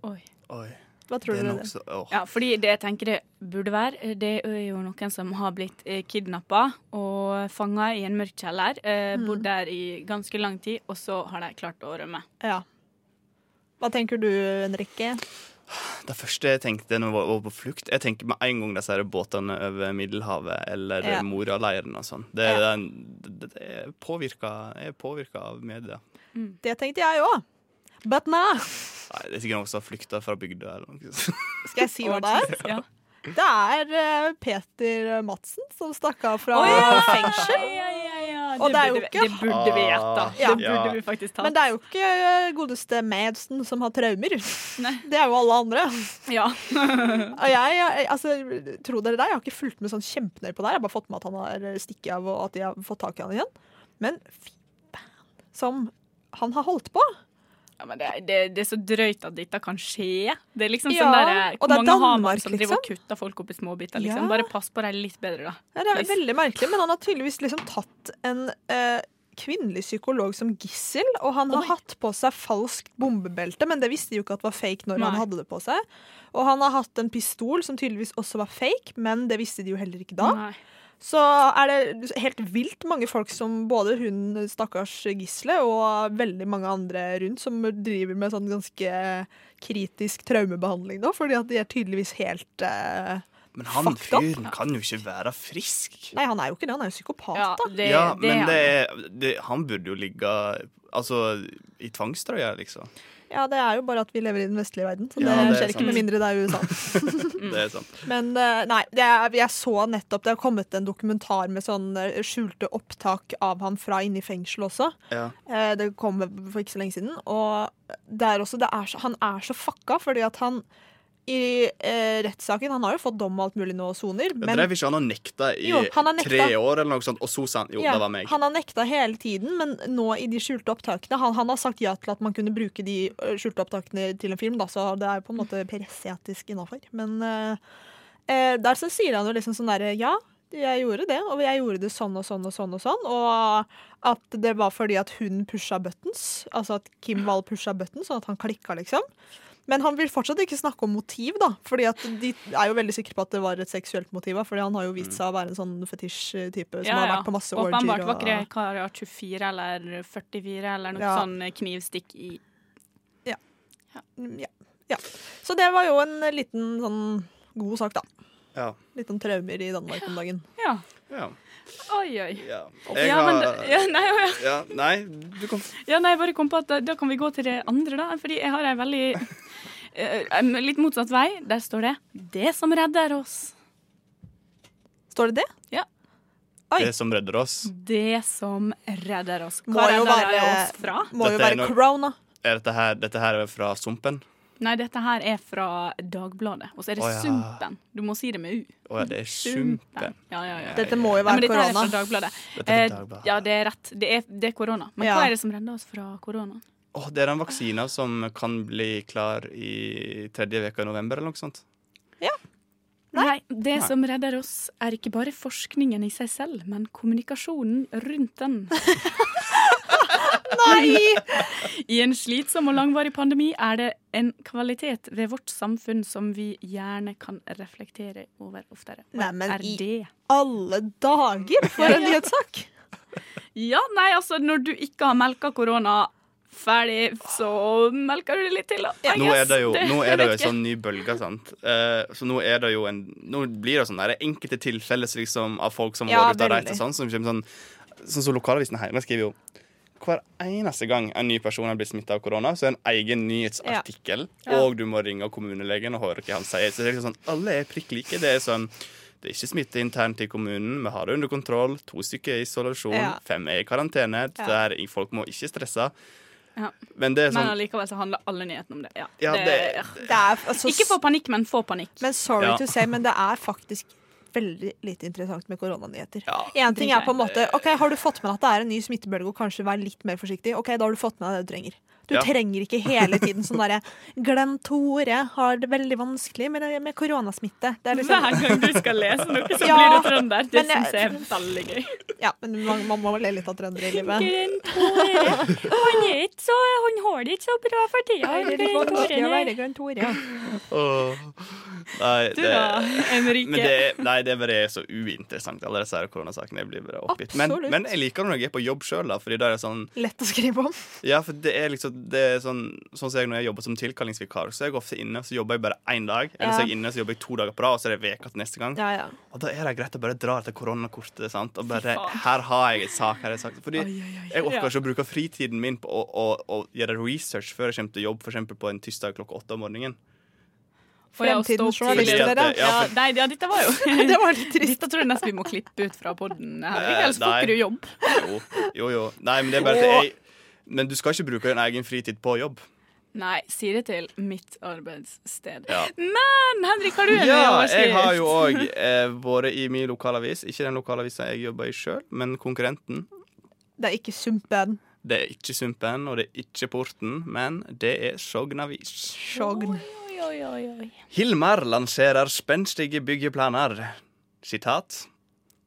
Oi.
Oi,
Hva tror
det er
dere?
nok
det?
så, åh.
Ja, fordi det jeg tenker det burde være, eh, det er jo noen som har blitt kidnappa og fanga i en mørk kjeller. Eh,
Mm.
Bodd der i ganske lang tid, og så har de klart å rømme.
Ja. Hva tenker du, Henrikke?
Det første jeg tenkte når jeg var- var på flukt Jeg tenker med en gang disse her båtene over Middelhavet eller
Ja.
Moria-leiren og sånn. Det, er en- det, det er påvirka, jeg er påvirka av media.
Det tenkte jeg òg. But nah.
Nei, det er sikkert noen som har flykta fra bygda eller noe sånt.
Skal jeg si hva det er?
Ja.
Det er eh, Peter Madsen som stakk av fra
Å, ja!
fengsel.
Ja, ja, ja.
Og det er jo
burde vi-
ikke-
Det burde vi gjette.
Ja.
Det burde vi faktisk tatt.
Men det er jo ikke eh, godeste Madsen som har traumer. Det er jo alle andre.
Ja.
Og jeg, jeg- altså, tro dere det, jeg har ikke fulgt med sånn kjempenøye på det her. Jeg har bare fått med at han har stikket av, og at de har fått tak i han igjen. Men fy faen som han har holdt på.
Ja, men det, det, det er så drøyt at dette kan skje. Det er liksom
Ja,
sånn der,
og
Hvor
det er
mange har
Danmark,
man som driver og kutter folk opp i småbiter? Liksom.
Ja.
Bare pass på dem litt bedre, da.
Ja, Det er
Yes.
veldig merkelig, men han har tydeligvis liksom tatt en eh, kvinnelig psykolog som gissel, og han har
Oi.
hatt på seg falskt bombebelte, men det visste de jo ikke at var fake når
Nei.
han hadde det på seg. Og han har hatt en pistol som tydeligvis også var fake, men det visste de jo heller ikke da.
Nei.
Så er det helt vilt mange folk som både hun stakkars gisle og veldig mange andre rundt som driver med sånn ganske kritisk traumebehandling nå, fordi at de er tydeligvis helt eh,
Men han
Fucked up.
fyren kan jo ikke være frisk.
Nei, han er jo ikke det, han er jo psykopat,
Ja,
da.
det,
ja,
det,
men
er-
det er, det, han burde jo ligge Altså i tvangstrøya, liksom.
Ja, det er jo bare at vi lever i den vestlige verden, så det,
Ja, det er
skjer ikke
sant.
med mindre det er USA.
Det er sant.
Men eh, nei, det er, jeg så nettopp det har kommet en dokumentar med sånn eh, skjulte opptak av han fra inne i fengsel også.
Ja.
Eh, Det kom for ikke så lenge siden. Og det er også, det er så, han er så fucka, fordi at han i eh, rettssaken Han har jo fått dom og alt mulig nå og soner,
Men,
men
Drev ikke han og nekta i
Jo, han har nekta.
tre år eller noe sånt, og så sa han jo,
ja,
det var meg.
han har nekta hele tiden, men nå i de skjulte opptakene Han, han har sagt ja til at man kunne bruke de eh, skjulte opptakene til en film, da, så det er jo på en måte presseetisk innafor. Men eh, eh, der så sier han jo liksom sånn derre Ja, jeg gjorde det, og jeg gjorde det sånn og sånn og sånn og sånn. Og at det var fordi at hun pusha buttons, altså at Kim Wall pusha buttons, sånn at han klikka, liksom. Men han vil fortsatt ikke snakke om motiv, da. Fordi at de er jo veldig sikre på at det var et seksuelt motiv. da, Fordi han har jo vist seg å være en sånn fetisj-type som har vært på masse orgier.
Åpenbart
Og...
vakre karer 24 eller 44 eller noe
Ja.
sånn knivstikk i
Mm, Ja. ja. Så det var jo en liten sånn god sak, da.
Ja.
Litt om traumer i Danmark om dagen.
Ja.
Ja.
Oi, oi.
ja.
Ja, men det- ja, nei, ja.
ja, nei, du kan
Ja, nei, jeg bare kom på at da, da kan vi gå til det andre, da. Fordi jeg har ei veldig eh, em, Litt motsatt vei. Der står det 'Det som redder oss'.
Står det det? Oi.
Det som redder oss,
Det som redder oss.
Må
Hva
jo
redder
være-
oss fra?
Må jo
Dette er
være
nok-
corona.
er dette her, dette her er fra Sumpen?
Nei, dette her er fra Dagbladet. Og så er det
Å, ja.
Sumpen. Du må si det med U.
Å ja, det er Sumpen.
Ja, ja, ja.
Dette må
Nei,
jo
men
være
dette her er
korona.
fra Dagbladet.
Dette er
Eh,
fra Dagbladet.
ja, det er rett. Det er, det er korona. Men
Ja.
hva er det som redder oss fra korona?
Å, det er den vaksina som kan bli klar i tredje veka i november, eller noe sånt.
Nei, det som redder oss, er ikke bare forskningen i seg selv, men kommunikasjonen rundt den.
Nei!
I en slitsom og langvarig pandemi er det en kvalitet ved vårt samfunn som vi gjerne kan reflektere over oftere. Hva
Nei, men
er
i-
det?
Alle dager, for en nyhetssak!
Ja, nei, altså, når du ikke har melka korona ferdig, så melker du det litt til, da. I
Nå er
guess.
det jo, nå er det jo
vet
en
ikke.
sånn ny bølge, sant. Eh, så nå er det jo en Nå blir det sånn der enkelte tilfeller så liksom, av folk som
Ja,
har vært ute og reist
veldig.
og sånn, som kommer sånn Sånn som lokalavisen hjemme skriver jo hver eneste gang en ny person har blitt smitta av korona, så er det en egen nyhetsartikkel, og du må ringe kommunelegen og høre hva han sier. Så det er liksom sånn, alle er prikk like. Det er sånn det er ikke smitte internt i kommunen, vi har det under kontroll. To stykker er i isolasjon,
Ja.
fem er i karantene.
Ja.
Der folk må ikke stresse.
Ja.
Men det er
Men
sånn
allikevel så handler alle nyhetene om det. Ja.
Ja, det-
Det er, altså,
Ikke få panikk, men få panikk.
Men sorry
Ja.
to say, men det er faktisk veldig lite interessant med koronanyheter.
Ja.
En ting er på en måte Ok, har du fått med deg at det er en ny smittebølge, og kanskje vær litt mer forsiktig. Ok, da har du fått med deg det du trenger. Du
Ja.
trenger ikke hele tiden sånn derre Glenn Tore har det veldig vanskelig med, med koronasmitte. Det er liksom,
Hver gang du skal lese noe, så
Ja,
blir du trønder. Det
men jeg-
syns jeg er veldig gøy.
ja, men man, man må le litt av trøndere i livet.
Han er ikke så Han har det ikke så bra for tida.
Det er litt vanskelig å være Glenn Tore.
Åh. Nei,
Du da,
men det,
Henrike.
er- nei, det er bare så uinteressant, alle disse her koronasakene. Jeg blir bare oppgitt. Men,
Absolutt.
men jeg liker det når jeg er på jobb sjøl, da. Fordi da er det sånn
Lett å skrive om.
Ja, for det er liksom det er sånn, sånn som jeg når jeg jobber som tilkallingsvikar, så er jeg ofte inne, så jobber jeg bare én dag. Eller så er jeg inne, så jobber jeg to dager på rad, og så er det veka til neste gang.
Ja, ja.
Og da er det greit å bare dra etter koronakortet, sant. Og bare Her har jeg et sak, her er et sak. Fordi jeg orker ikke å bruke fritiden min på å, å, å gjøre research før jeg kommer til jobb, f.eks. på en tirsdag klokka åtte om morgenen.
Får jeg å stå opp
Fremtidens journalist,
tidlig?
Fordi at-
dere.
ja,
Ja, nei, ja, dette var jo
Det var litt trist.
Dette tror jeg nesten vi må klippe ut fra podden Henrik,
Eh,
ellers får
nei.
ikke du jobb.
Jo, jo. jo. Nei, men det er bare at jeg Men du skal ikke bruke din egen fritid på jobb.
Nei, si det til mitt arbeidssted.
Ja.
Men Henrik, har du en
Ja,
overskrift?
jeg har jo òg eh, vært i min lokalavis. Ikke den lokalavisa jeg jobber i sjøl, men konkurrenten.
Det er ikke Sumpen.
Det er ikke Sumpen, og det er ikke Porten, men det er Sogn avis.
Sjogn.
Oi, oi, oi, oi.
Hilmar lanserer spenstige byggeplaner. Sitat.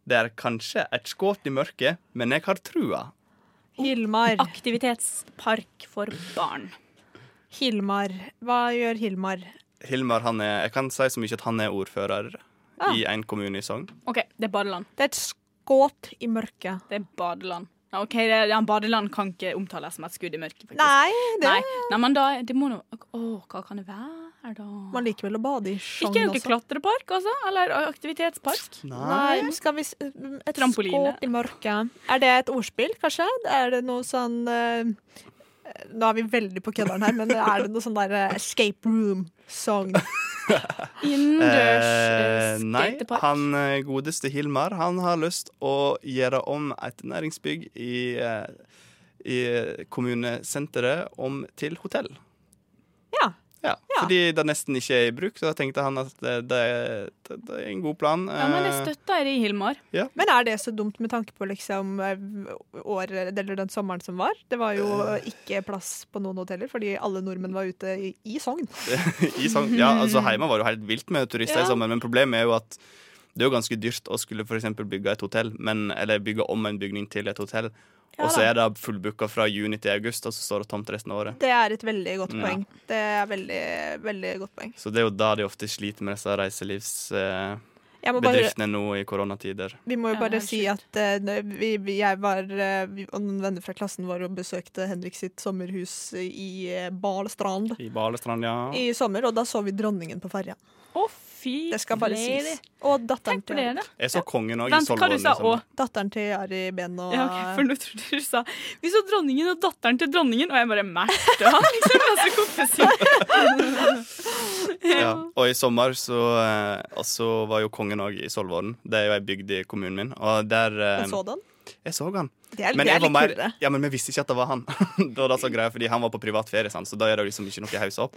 Det er kanskje et skudd i mørket, men jeg har trua.
Hilmar.
Aktivitetspark for barn.
Hilmar. Hva gjør Hilmar?
Hilmar, han er, jeg kan si så mye at han er ordfører i en kommune i Sogn.
OK, det er badeland.
Det er et skåt i mørket.
Det er badeland. Ja, OK, det, ja, badeland kan ikke omtales som et skudd i mørket. faktisk.
Nei, det
Nei. Nei, men da det må nå Å, hva kan det være, da?
Man liker vel å bade i sjong
ikke noe
også.
klatrepark, altså? Eller aktivitetspark?
Nei, skal vi s- Et
Trampoline.
skåt i mørket. Er det et ordspill, kanskje? Er det noe sånn eh, Nå er vi veldig på kødderen her, men er det noe sånn der eh, escape room-song?
Innendørs eh,
Eh, nei,
skatepark?
han eh, godeste Hilmar Han har lyst å gjøre om et næringsbygg i, eh, i kommunesenteret om til hotell.
Ja.
Ja,
Ja.
Fordi det nesten ikke er i bruk, så da tenkte han at det, det, det, det er en god plan.
Ja, men det
Eh,
støtter jeg i, Hilmar.
Men er det så dumt med tanke på liksom eh, året eller den sommeren som var? Det var jo
Eh.
ikke plass på noen hoteller fordi alle nordmenn var ute i, i Sogn.
I Sogn. Ja, altså Heima var det jo helt vilt med turister
Ja.
i sommer, men problemet er jo at det er jo ganske dyrt å skulle for eksempel bygge et hotell, men, eller bygge om en bygning til et hotell. og så
da.
er det fullbooka fra juni til august, og så står det tomt resten av året.
Det er et veldig godt
Ja.
poeng. Det er veldig, veldig godt poeng.
Så det er jo da de ofte sliter med disse reiselivsbedriftene
Jeg må bare,
nå i koronatider.
vi må jo
Ja, det er
bare
helt
si at eh, nø- vi, vi- jeg var, eh, vi, og noen venner fra klassen vår og besøkte Henrik sitt sommerhus i eh, Balestrand
I Balestrand, ja.
i sommer, og da så vi dronningen på ferja.
Å, fy
Det skal bare
flere.
sies. Og datteren
Tenk på
til,
det, da.
Erik.
Jeg så kongen òg i
Vent, hva
Solvorn.
du sa
liksom.
òg?
datteren til Ari Ben og
Ja, ok, for nå trodde du sa Vi så dronningen og datteren til dronningen, og jeg bare Märtha, liksom. Altså, hvorfor sier du
Ja. Og i sommer så eh, også var jo kongen òg i Solvorn. Det er jo ei bygd i kommunen min. Og der eh,
og sådan.
Jeg så han.
Det er,
Men,
det
jeg
er
var
litt
mer,
kulere.
ja, men vi visste ikke at det var han. det var det som var greia, fordi han var på privat ferie, sant? så da er det liksom ikke noe å hausse opp.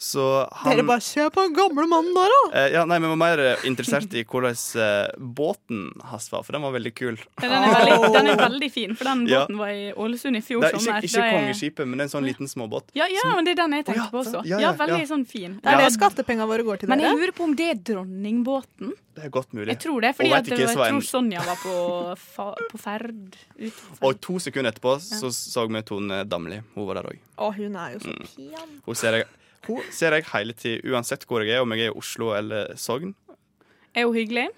Så han
Dere bare se på den gamle mannen der, da!
eh, ja, nei, Vi var mer eh, interessert i hvordan eh, båten hans var, for den var veldig kul.
Ja, den, er veldig, den er veldig fin, for den
Ja.
båten var i Ålesund i fjor
Det er ikke,
sommer.
ikke
Da er-
kongeskipet, men en sånn liten småbåt.
Ja, ja, men det er den jeg tenkte
Å, ja,
på også.
sant. Ja,
Ja,
ja,
veldig
ja.
sånn fin.
Det er
Ja.
det skattepengene våre går til,
Men jeg
dere.
lurer på om det er dronningbåten.
Det er godt mulig.
Jeg tror det, fordi
Og vet
at det
ikke,
var,
så var
jeg
en-
tror Sonja var på, fa på ferd. Ut på ferd.
Og to sekunder etterpå så så vi Tone Damli. Hun var der òg.
Å, hun er jo så
Mm.
pen.
Hun ser jeg, hun ser jeg hele tiden, uansett hvor jeg er, om jeg er i Oslo eller Sogn.
Er hun hyggelig?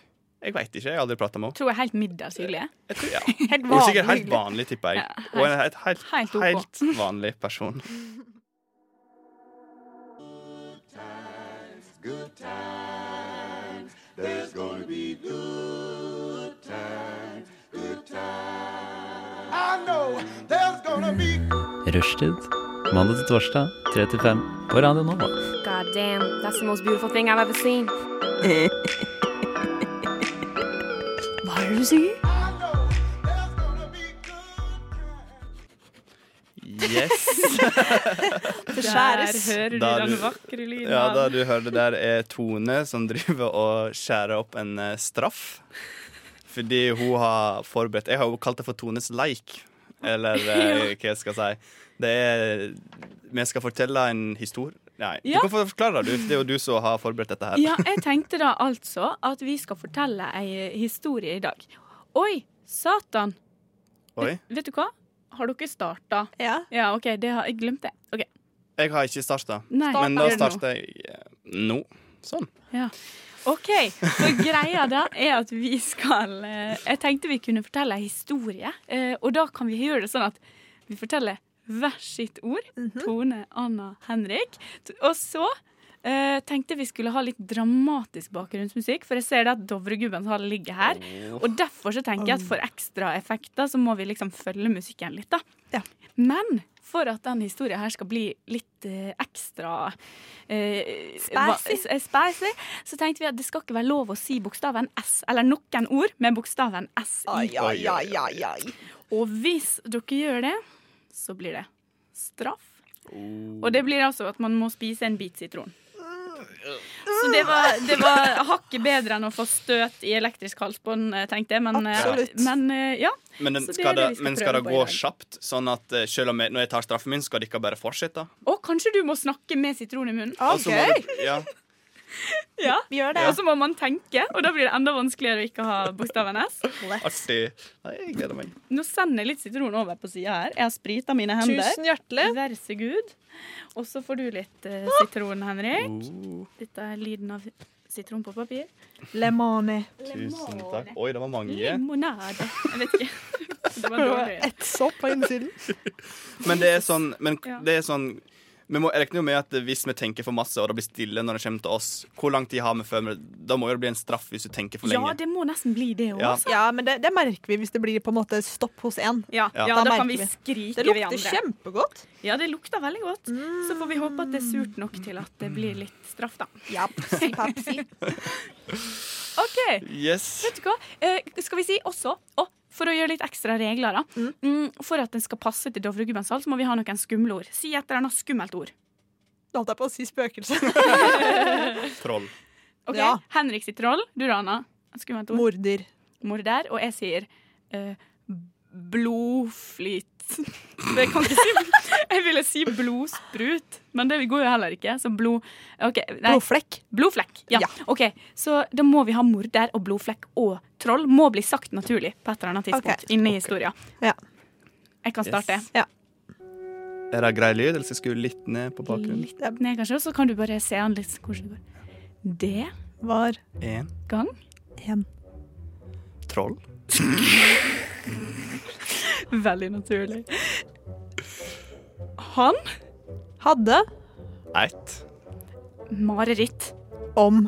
Jeg veit ikke, jeg har aldri prata med henne.
Tror jeg er helt middelshyggelig.
Jeg tror- Ja.
Helt
Hun er sikkert
vanlig.
helt vanlig, tipper jeg.
Ja, helt-
Hun er et helt,
helt ok.
helt vanlig person.
Rushtid. Mandag til torsdag, 3 til 5 på Radio Nova.
God damn, that's the most beautiful thing I've ever seen.
Yes.
Det
Der
skjæres.
hører du
Da er
den
du-
vakre lyden
Ja, da
av
du hørte der er Tone som driver og skjærer opp en eh, straff. Fordi hun har forberedt Jeg har jo kalt det for Tones leik. Eller eh, hva jeg skal si. Det er Vi skal fortelle en historie. Nei,
Ja.
du kan få forklare det. du. Det er jo du som har forberedt dette her.
Ja, jeg tenkte da altså at vi skal fortelle ei historie i dag. Oi, satan!
Oi.
Vet du hva? Har dere starta?
Ja.
Ja, OK, det har jeg glemt det. Ok,
Jeg har ikke starta.
Nei,
Men da
gjør det nå.
starter jeg eh, nå. Sånn.
OK, så greia da er at vi skal eh, Jeg tenkte vi kunne fortelle en historie, eh, og da kan vi gjøre det sånn at vi forteller hver sitt ord. Tone, Anna, Henrik. T- Og så eh, tenkte vi skulle ha litt dramatisk bakgrunnsmusikk, for jeg ser det at Dovregubbens hall ligger her. Og derfor så tenker jeg at for ekstra effekter så må vi liksom følge musikken litt, da.
Ja.
Men for at den historien her skal bli litt eh, ekstra eh, hva-
Spicy.
eh, spicy, så tenkte vi at det skal ikke være lov å si bokstaven S, eller noen ord med bokstaven S
Ai,
i.
ai, ai, ai, ai.
Og hvis dere gjør det, så blir det straff. Og det blir altså at man må spise en bit sitron. Så det var, det var hakket bedre enn å få støt i elektrisk halsbånd, eh, tenkte jeg. Men, eh,
Absolutt.
men eh, ja.
Men, den,
Så det er
skal det,
det vi skal
men skal det
prøve på i
gå
dag.
kjapt? Sånn at eh, selv om jeg, når jeg tar straffen min, skal dere bare fortsette?
Og kanskje du må snakke med sitron i munnen.
Og så må
OK,
dere- Ja.
Ja.
vi gjør det.
Og så må man tenke, og da blir det enda vanskeligere å ikke ha bokstaven S.
Artig. Nei, jeg gleder meg.
Nå sender jeg litt sitron over på sida her. Jeg har sprita mine hender.
Tusen hjertelig.
Vær så god. Og så får du litt eh, sitron, Henrik. Dette er lyden av sitron på papir.
Lemane.
Tusen takk. Oi, det var mange.
Mm. Limonade. Jeg vet ikke. Det var dårlig.
Et sopp på innsiden.
Men det er sånn, men
Ja.
det er sånn vi må regne jo med at hvis vi tenker for masse, og det blir stille når det kommer til oss, hvor lang tid har vi før vi Da må jo det bli en straff hvis du tenker for
Ja,
lenge.
det må nesten bli det òg.
Ja.
Ja, men det, det merker vi hvis det blir på en måte stopp hos én.
Ja, ja,
Ja.
da
Da
kan vi
merker
skrike
Det
ved
lukter
andre.
kjempegodt.
Ja, det lukter veldig godt. Så får vi håpe at det er surt nok til at det blir litt straff, da.
Ja, psi, papsi.
OK.
Yes.
Vet du hva? Eh, skal vi si også å, For å gjøre litt ekstra regler, da. Mm. for at den skal passe til Dovregubbens hall, så må vi ha noen skumle ord. Si et eller annet skummelt ord.
Nå holdt jeg på å si spøkelse.
Troll.
Ok,
Ja.
Henrik sier troll, du rana. Morder. Morder, og jeg sier eh, blodflyt. Det kan ikke si Jeg ville si blodsprut, men det går jo heller ikke. Så blod ok, nei.
Blodflekk.
Blodflekk, ja. OK, så da må vi ha morder og blodflekk og troll. Må bli sagt naturlig på et eller annet tidspunkt
Ok.
inni historien.
Ja.
Jeg kan starte.
Yes. Ja.
Er det grei lyd, eller skal jeg skru litt ned på bakgrunnen?
Litt ned, kanskje, og så kan du bare se an litt hvordan det går. Det
var
En
gang
troll.
Veldig naturlig. Han
hadde
Et
mareritt.
om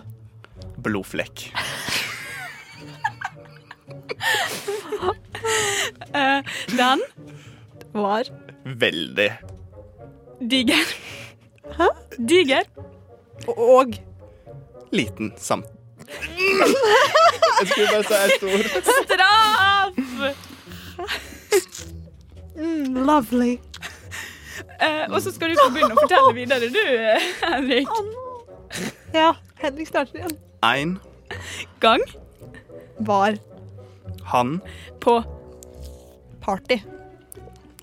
blodflekk.
Eh, den
var
Veldig.
diger. Hæ? Diger.
Og
Liten samt. Jeg skulle bare si et ord.
straff!
mm, lovely.
Eh, og så skal du få begynne å fortelle videre, du, eh, Henrik.
Ja, Henrik starter igjen.
Ein
Gang
Var
han
på
party.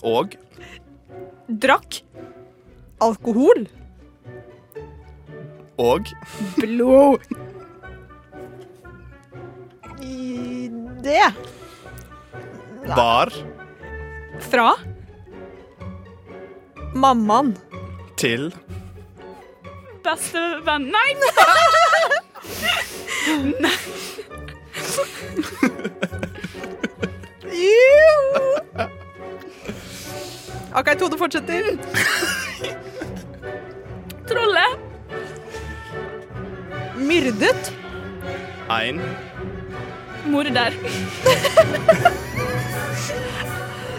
og
drakk
Alkohol.
og
blod.
I det
bar
Fra
mammaen
til
bestevenn Nei! Nei.
OK, Tone fortsetter.
Trollet
Myrdet.
ein
morder.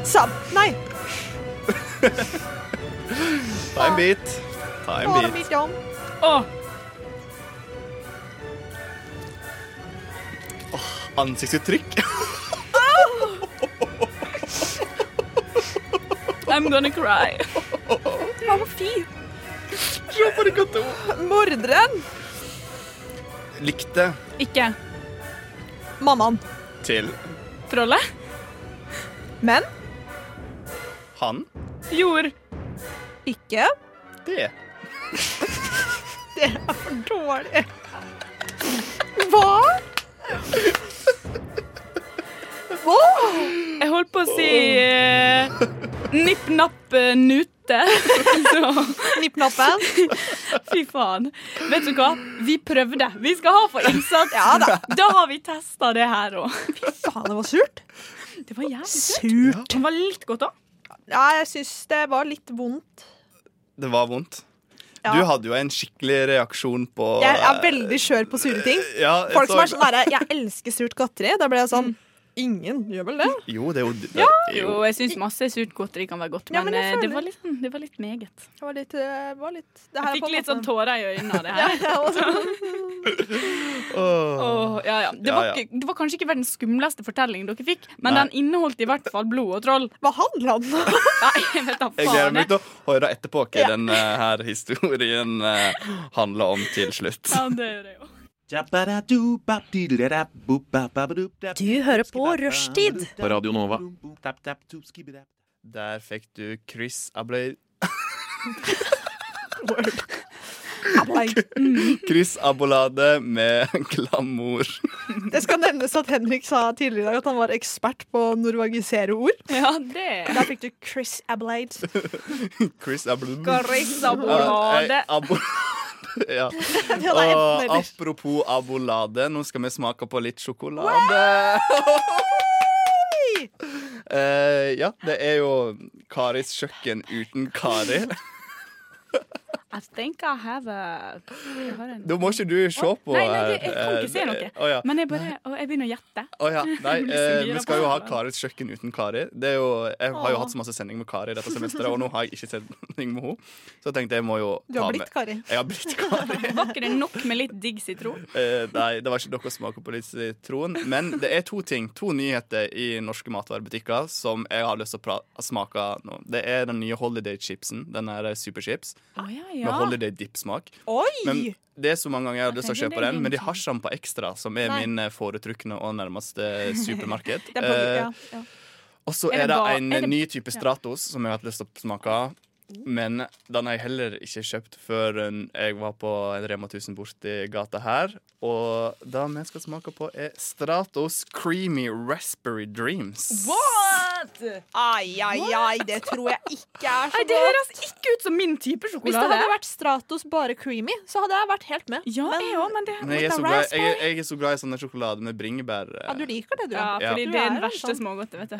Sam... Nei.
Ta en bit. Ta en
Bare
bit.
litt om.
Og
Ansiktsuttrykk.
I'm gonna cry.
Se på de katta.
Morderen.
Likte
Ikke
Mammaen.
til
trollet.
Men
han
Jord.
ikke
det.
Det er for dårlig. Hva? Hva?
Jeg holdt på å si eh, nipp, napp, eh, nute. Så
Nippnappen?
fy faen. Vet du hva? Vi prøvde. Vi skal ha for innsats.
Ja da.
Da har vi testa det her òg.
Faen, det var surt.
Det var jævlig søtt.
Surt.
Den var litt godt òg.
Ja, jeg syns det var litt vondt.
Det var vondt.
Ja.
Du hadde jo en skikkelig reaksjon på
Jeg er veldig skjør på sure ting.
Ja, jeg
Folk som
så-
er sånn derre 'jeg elsker surt godteri', da blir jeg sånn Ingen gjør vel det?
Jo, det er jo det-
Jo, jeg syns masse surt godteri kan være godt,
Ja,
men,
men jeg
eh, det,
føler-
var litt, det var litt meget.
Det var litt, eh, var litt det her
Jeg
er på
fikk
en
litt
måte-
sånn tårer i øynene av det
Ja,
her.
jeg også.
Åh.
Åh, ja, ja. Det,
Ja,
var
ja.
ikke, det var kanskje ikke verdens skumleste fortelling dere fikk, men
Nei.
den inneholdt i hvert fall blod og troll.
Hva handla den om?
Nei, jeg vet da
Jeg gleder
faen.
meg
jeg.
til å høre etterpå hva denne her historien eh, handler om til slutt.
Ja, det gjør jeg jo.
Du hører på Rushtid på Radio Nova.
Der fikk du Chris Abley Chris Abolade med glamour.
Det skal nevnes at Henrik sa tidligere i dag at han var ekspert på å norvagisere ord.
Ja, det
Der fikk du Chris Ablade.
Chris Ablade.
Garisabolade.
Ja.
Det var
Og
enten eller.
apropos abolade, nå skal vi smake på litt sjokolade. Eh, ja, det er jo Karis kjøkken uten Kari.
I think I have a jeg har en-
Da må ikke du se på
Nei, nei, det- jeg kan ikke
eh,
se noe.
eh, Å ja.
Men jeg bare og jeg begynner å gjette.
Å ja. Nei,
Jeg blir så
eh,
gira
vi
på
skal jo ha
det.
Karis kjøkken uten Kari. Det er jo, jeg har
Åh.
jo hatt så masse sending med Kari dette semesteret, og nå har jeg ikke sending med henne. Så jeg tenkte jeg må jo
Du
ta
har
med
blitt Kari.
Jeg har blitt Kari.
Var ikke det nok med litt digg sitron?
Eh, nei, det var ikke dere som smaker på sitron. Men det er to ting, to nyheter i norske matvarebutikker som jeg har lyst til å pra- smake nå. Det er den nye Holiday chipsen, den der eh, superchips.
Å ja,
med
Ja.
holiday dip-smak.
Oi!
Men det er så mange ganger jeg har lyst til å
tenker
kjøpe
det er
den, men de
ingenting.
har sjampa ekstra, som er
Nei.
min eh, foretrukne og nærmeste supermarked.
Det er på- ja,
Eh, Og så
Er
er
det
det
ba-
en eh,
er det-
ny type
ja.
Stratos som jeg har hatt lyst til å smake av. Men den har jeg heller ikke kjøpt før en- jeg var på en Rema 1000 borti gata her. Og det vi skal smake på, er Stratos Creamy Raspberry Dreams.
What?! Ai, ai, ai, det tror jeg ikke er så
Nei, det høres ikke ut som min type
Hvis
sjokolade.
det hadde vært Stratos bare creamy, så hadde jeg vært helt med.
Ja,
men,
jeg òg, men det
Men jeg, er så glad, jeg, jeg er så glad i sånne sjokolade med bringebær.
ja, du liker det, du.
Ja,
Ja. Eh,
fordi
Du
det
er
er
en
den verste
sånn-
smågodtet, vet du.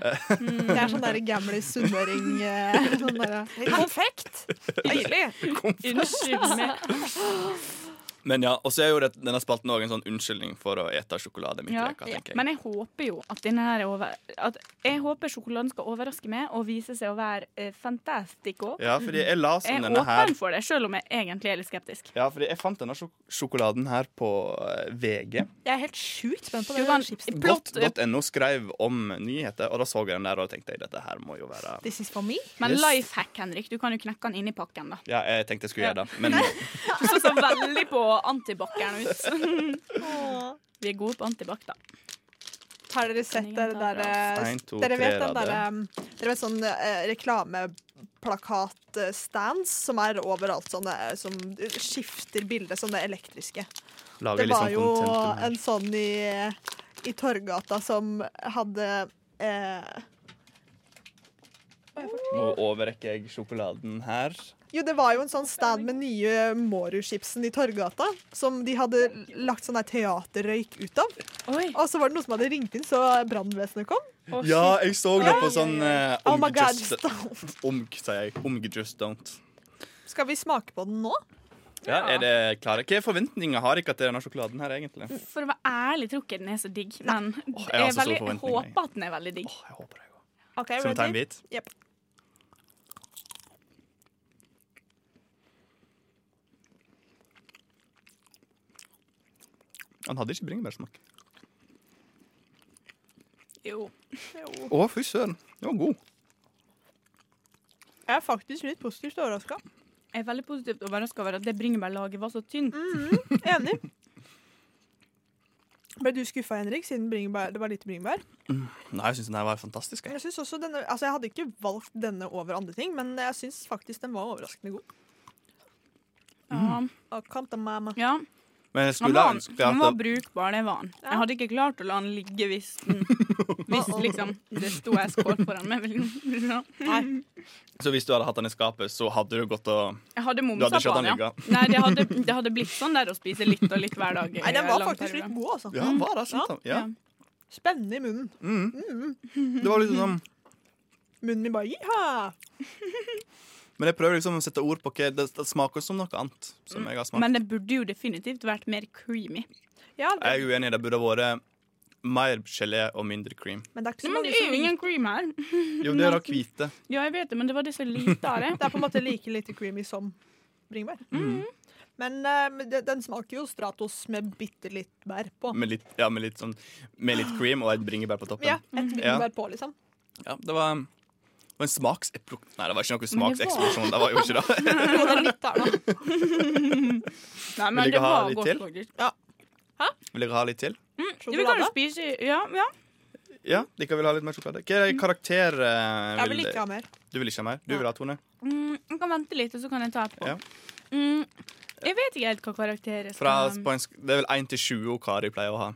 Det er sånn der gamle sunnmøring eh, sånn derre- Konfekt! Deilig!
Unnskyld meg.
Men ja, Og så er jo det, denne spalten også en sånn unnskyldning for å ete sjokolade midt i
Ja.
veka, tenker jeg.
Men jeg håper jo at denne her er over... At jeg håper sjokoladen skal overraske meg og vise seg å være eh, fantastico.
Ja, fordi jeg las om
Jeg er
denne her
åpen for det, selv om jeg egentlig er litt skeptisk.
Ja, fordi jeg fant denne sjok sjokoladen her på eh, VG.
Jeg er helt sjukt spent på det.
Johan,
chipset.
Blått-
Godt.no skrev om nyheter, og da så jeg den der og tenkte jeg, dette her må jo være
This is for me.
Men
Yes.
life hack, Henrik, du kan jo knekke den inni pakken, da.
Ja, jeg tenkte jeg skulle gjøre det, men
Du så så veldig på antibac-en ut. Vi er gode på antibac, da.
Har dere sett det der eh,
En, to,
Dere vet
tre
den derre Dere vet sånn eh, reklameplakat-stands som er overalt, sånne eh, som skifter bilde som det elektriske.
lager
Det
litt
var
sånn
jo
content.
en sånn i, i Torgata som hadde eh,
Nå overrekker jeg sjokoladen her.
Jo, det var jo en sånn stand med nye Mårud-chipsen i Torgata, som de hadde lagt sånn der teaterrøyk ut av.
Oi.
Og så var det noen som hadde ringt inn, så brannvesenet kom.
Å,
Ja, jeg så det på sånn eh,
Oh my
Omg,
god,
just-
stopp.
Omg, sier jeg. Omg, just don't.
Skal vi smake på den nå?
Ja, er det klare? Hva forventninger har ikke til denne sjokoladen her, egentlig?
shit. For å være ærlig tror ikke jeg den er så digg, men
jeg har så
jeg,
store
veldig, jeg
forventninger, jeg.
håper at den er veldig digg.
Åh, jeg håper det går.
Ok,
Skal vi ta en bit?
Yep.
Han hadde ikke bringebærsmak.
Jo.
Å, fy søren. Den var god.
Jeg er faktisk litt positivt overraska.
Jeg er veldig positivt overraska over at det bringebærlaget var så tynt.
Mm.
Enig. Ble du skuffa, Henrik, siden bringebær, det var lite bringebær?
Nei, jeg syns den her var fantastisk. Jeg.
Jeg, synes også denne, altså jeg hadde ikke valgt denne over andre ting, men jeg syns faktisk den var overraskende god.
Ja.
Og kom til mamma.
ja.
Men jeg
Den
skulle
var,
ønske
den var
at det,
brukbar, det var den.
Ja.
Jeg hadde ikke klart å la den ligge hvis den Hvis liksom det sto ei skål foran meg. Jeg
Så hvis du hadde hatt den i skapet, så hadde du gått og
hadde
Du hadde
momsa
ikke
på
hatt
den,
den
ja.
ligga.
Nei, det hadde, det hadde blitt sånn der å spise litt og litt hver dag. i
Nei, den var
lang
faktisk
periode.
litt god, altså.
Ja, var det sant? Ja. Mm.
Ja.
Spennende i munnen.
Det var litt sånn
Munnen min bare ja.
Men jeg prøver liksom å sette ord på hva det, det smaker som noe annet. Som jeg har smakt.
Men det burde jo definitivt vært mer creamy.
ja det,
Jeg er uenig. Det burde vært mer gelé og mindre cream.
Men det er ikke så
Men
mange
det er
som
jo
liker
Mm, ingen cream her.
Jo, det er da hvite.
Ja, jeg vet det, men det var det så lite av det.
Det er på en måte like lite creamy som bringebær.
Mm.
Men eh, men det- den smaker jo Stratos med bitte litt bær på.
Med litt, ja, med litt sånn Med litt cream og et bringebær på toppen.
Ja, et bringebær på, liksom.
Ja, det var det var en smakseplok... Nei, det var ikke noe smakseksplosjon. Det var jo ikke det.
Jo, det er litt der, da.
Nei,
Vil
men
dere
det
ha
var
litt
godt,
til?
faktisk.
Vil dere ha litt til?
Ja, vi kan jo
Sjokolade.
spise Ja, ja.
Ja, dere vil ha litt mer sjokolade? Hva er det karakter eh,
Jeg vil ikke ha mer.
Du vil ikke ha mer? Du vil ha Tone?
Mm, jeg kan vente litt, og så kan jeg ta etterpå.
Ja.
Mm, jeg vet ikke helt hva karakter jeg
Fra,
skal
på en, sk- det er vel 1 til 20 og Kari pleier å ha.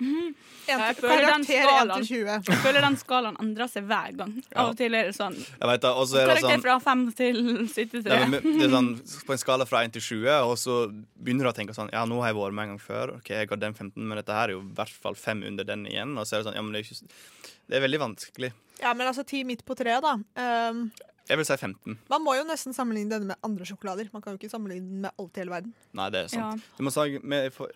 En
Jeg
til,
føler den
karakter 1
skalaen.
til 20.
Jeg føler den skalaen endrer seg hver gang. Av og til er det sånn
Jeg vet det, og så er det
Karakter
sånn
fra fem til
Nei,
73.
men det er sånn, på en skala fra 1 til 20, og så begynner du å tenke sånn Ja, nå har jeg vært med en gang før. Ok, jeg har den 15, men dette her er jo i hvert fall 5 under den igjen. Og så er det sånn Ja, men det er, ikke, s- det er veldig vanskelig.
Ja, men altså ti midt på treet, da. Ehm,
Jeg vil si 15.
man må jo nesten sammenligne denne med andre sjokolader. Man kan jo ikke sammenligne den med alt i hele verden.
Nei, det er
Ja.
sant. Du må sage med for,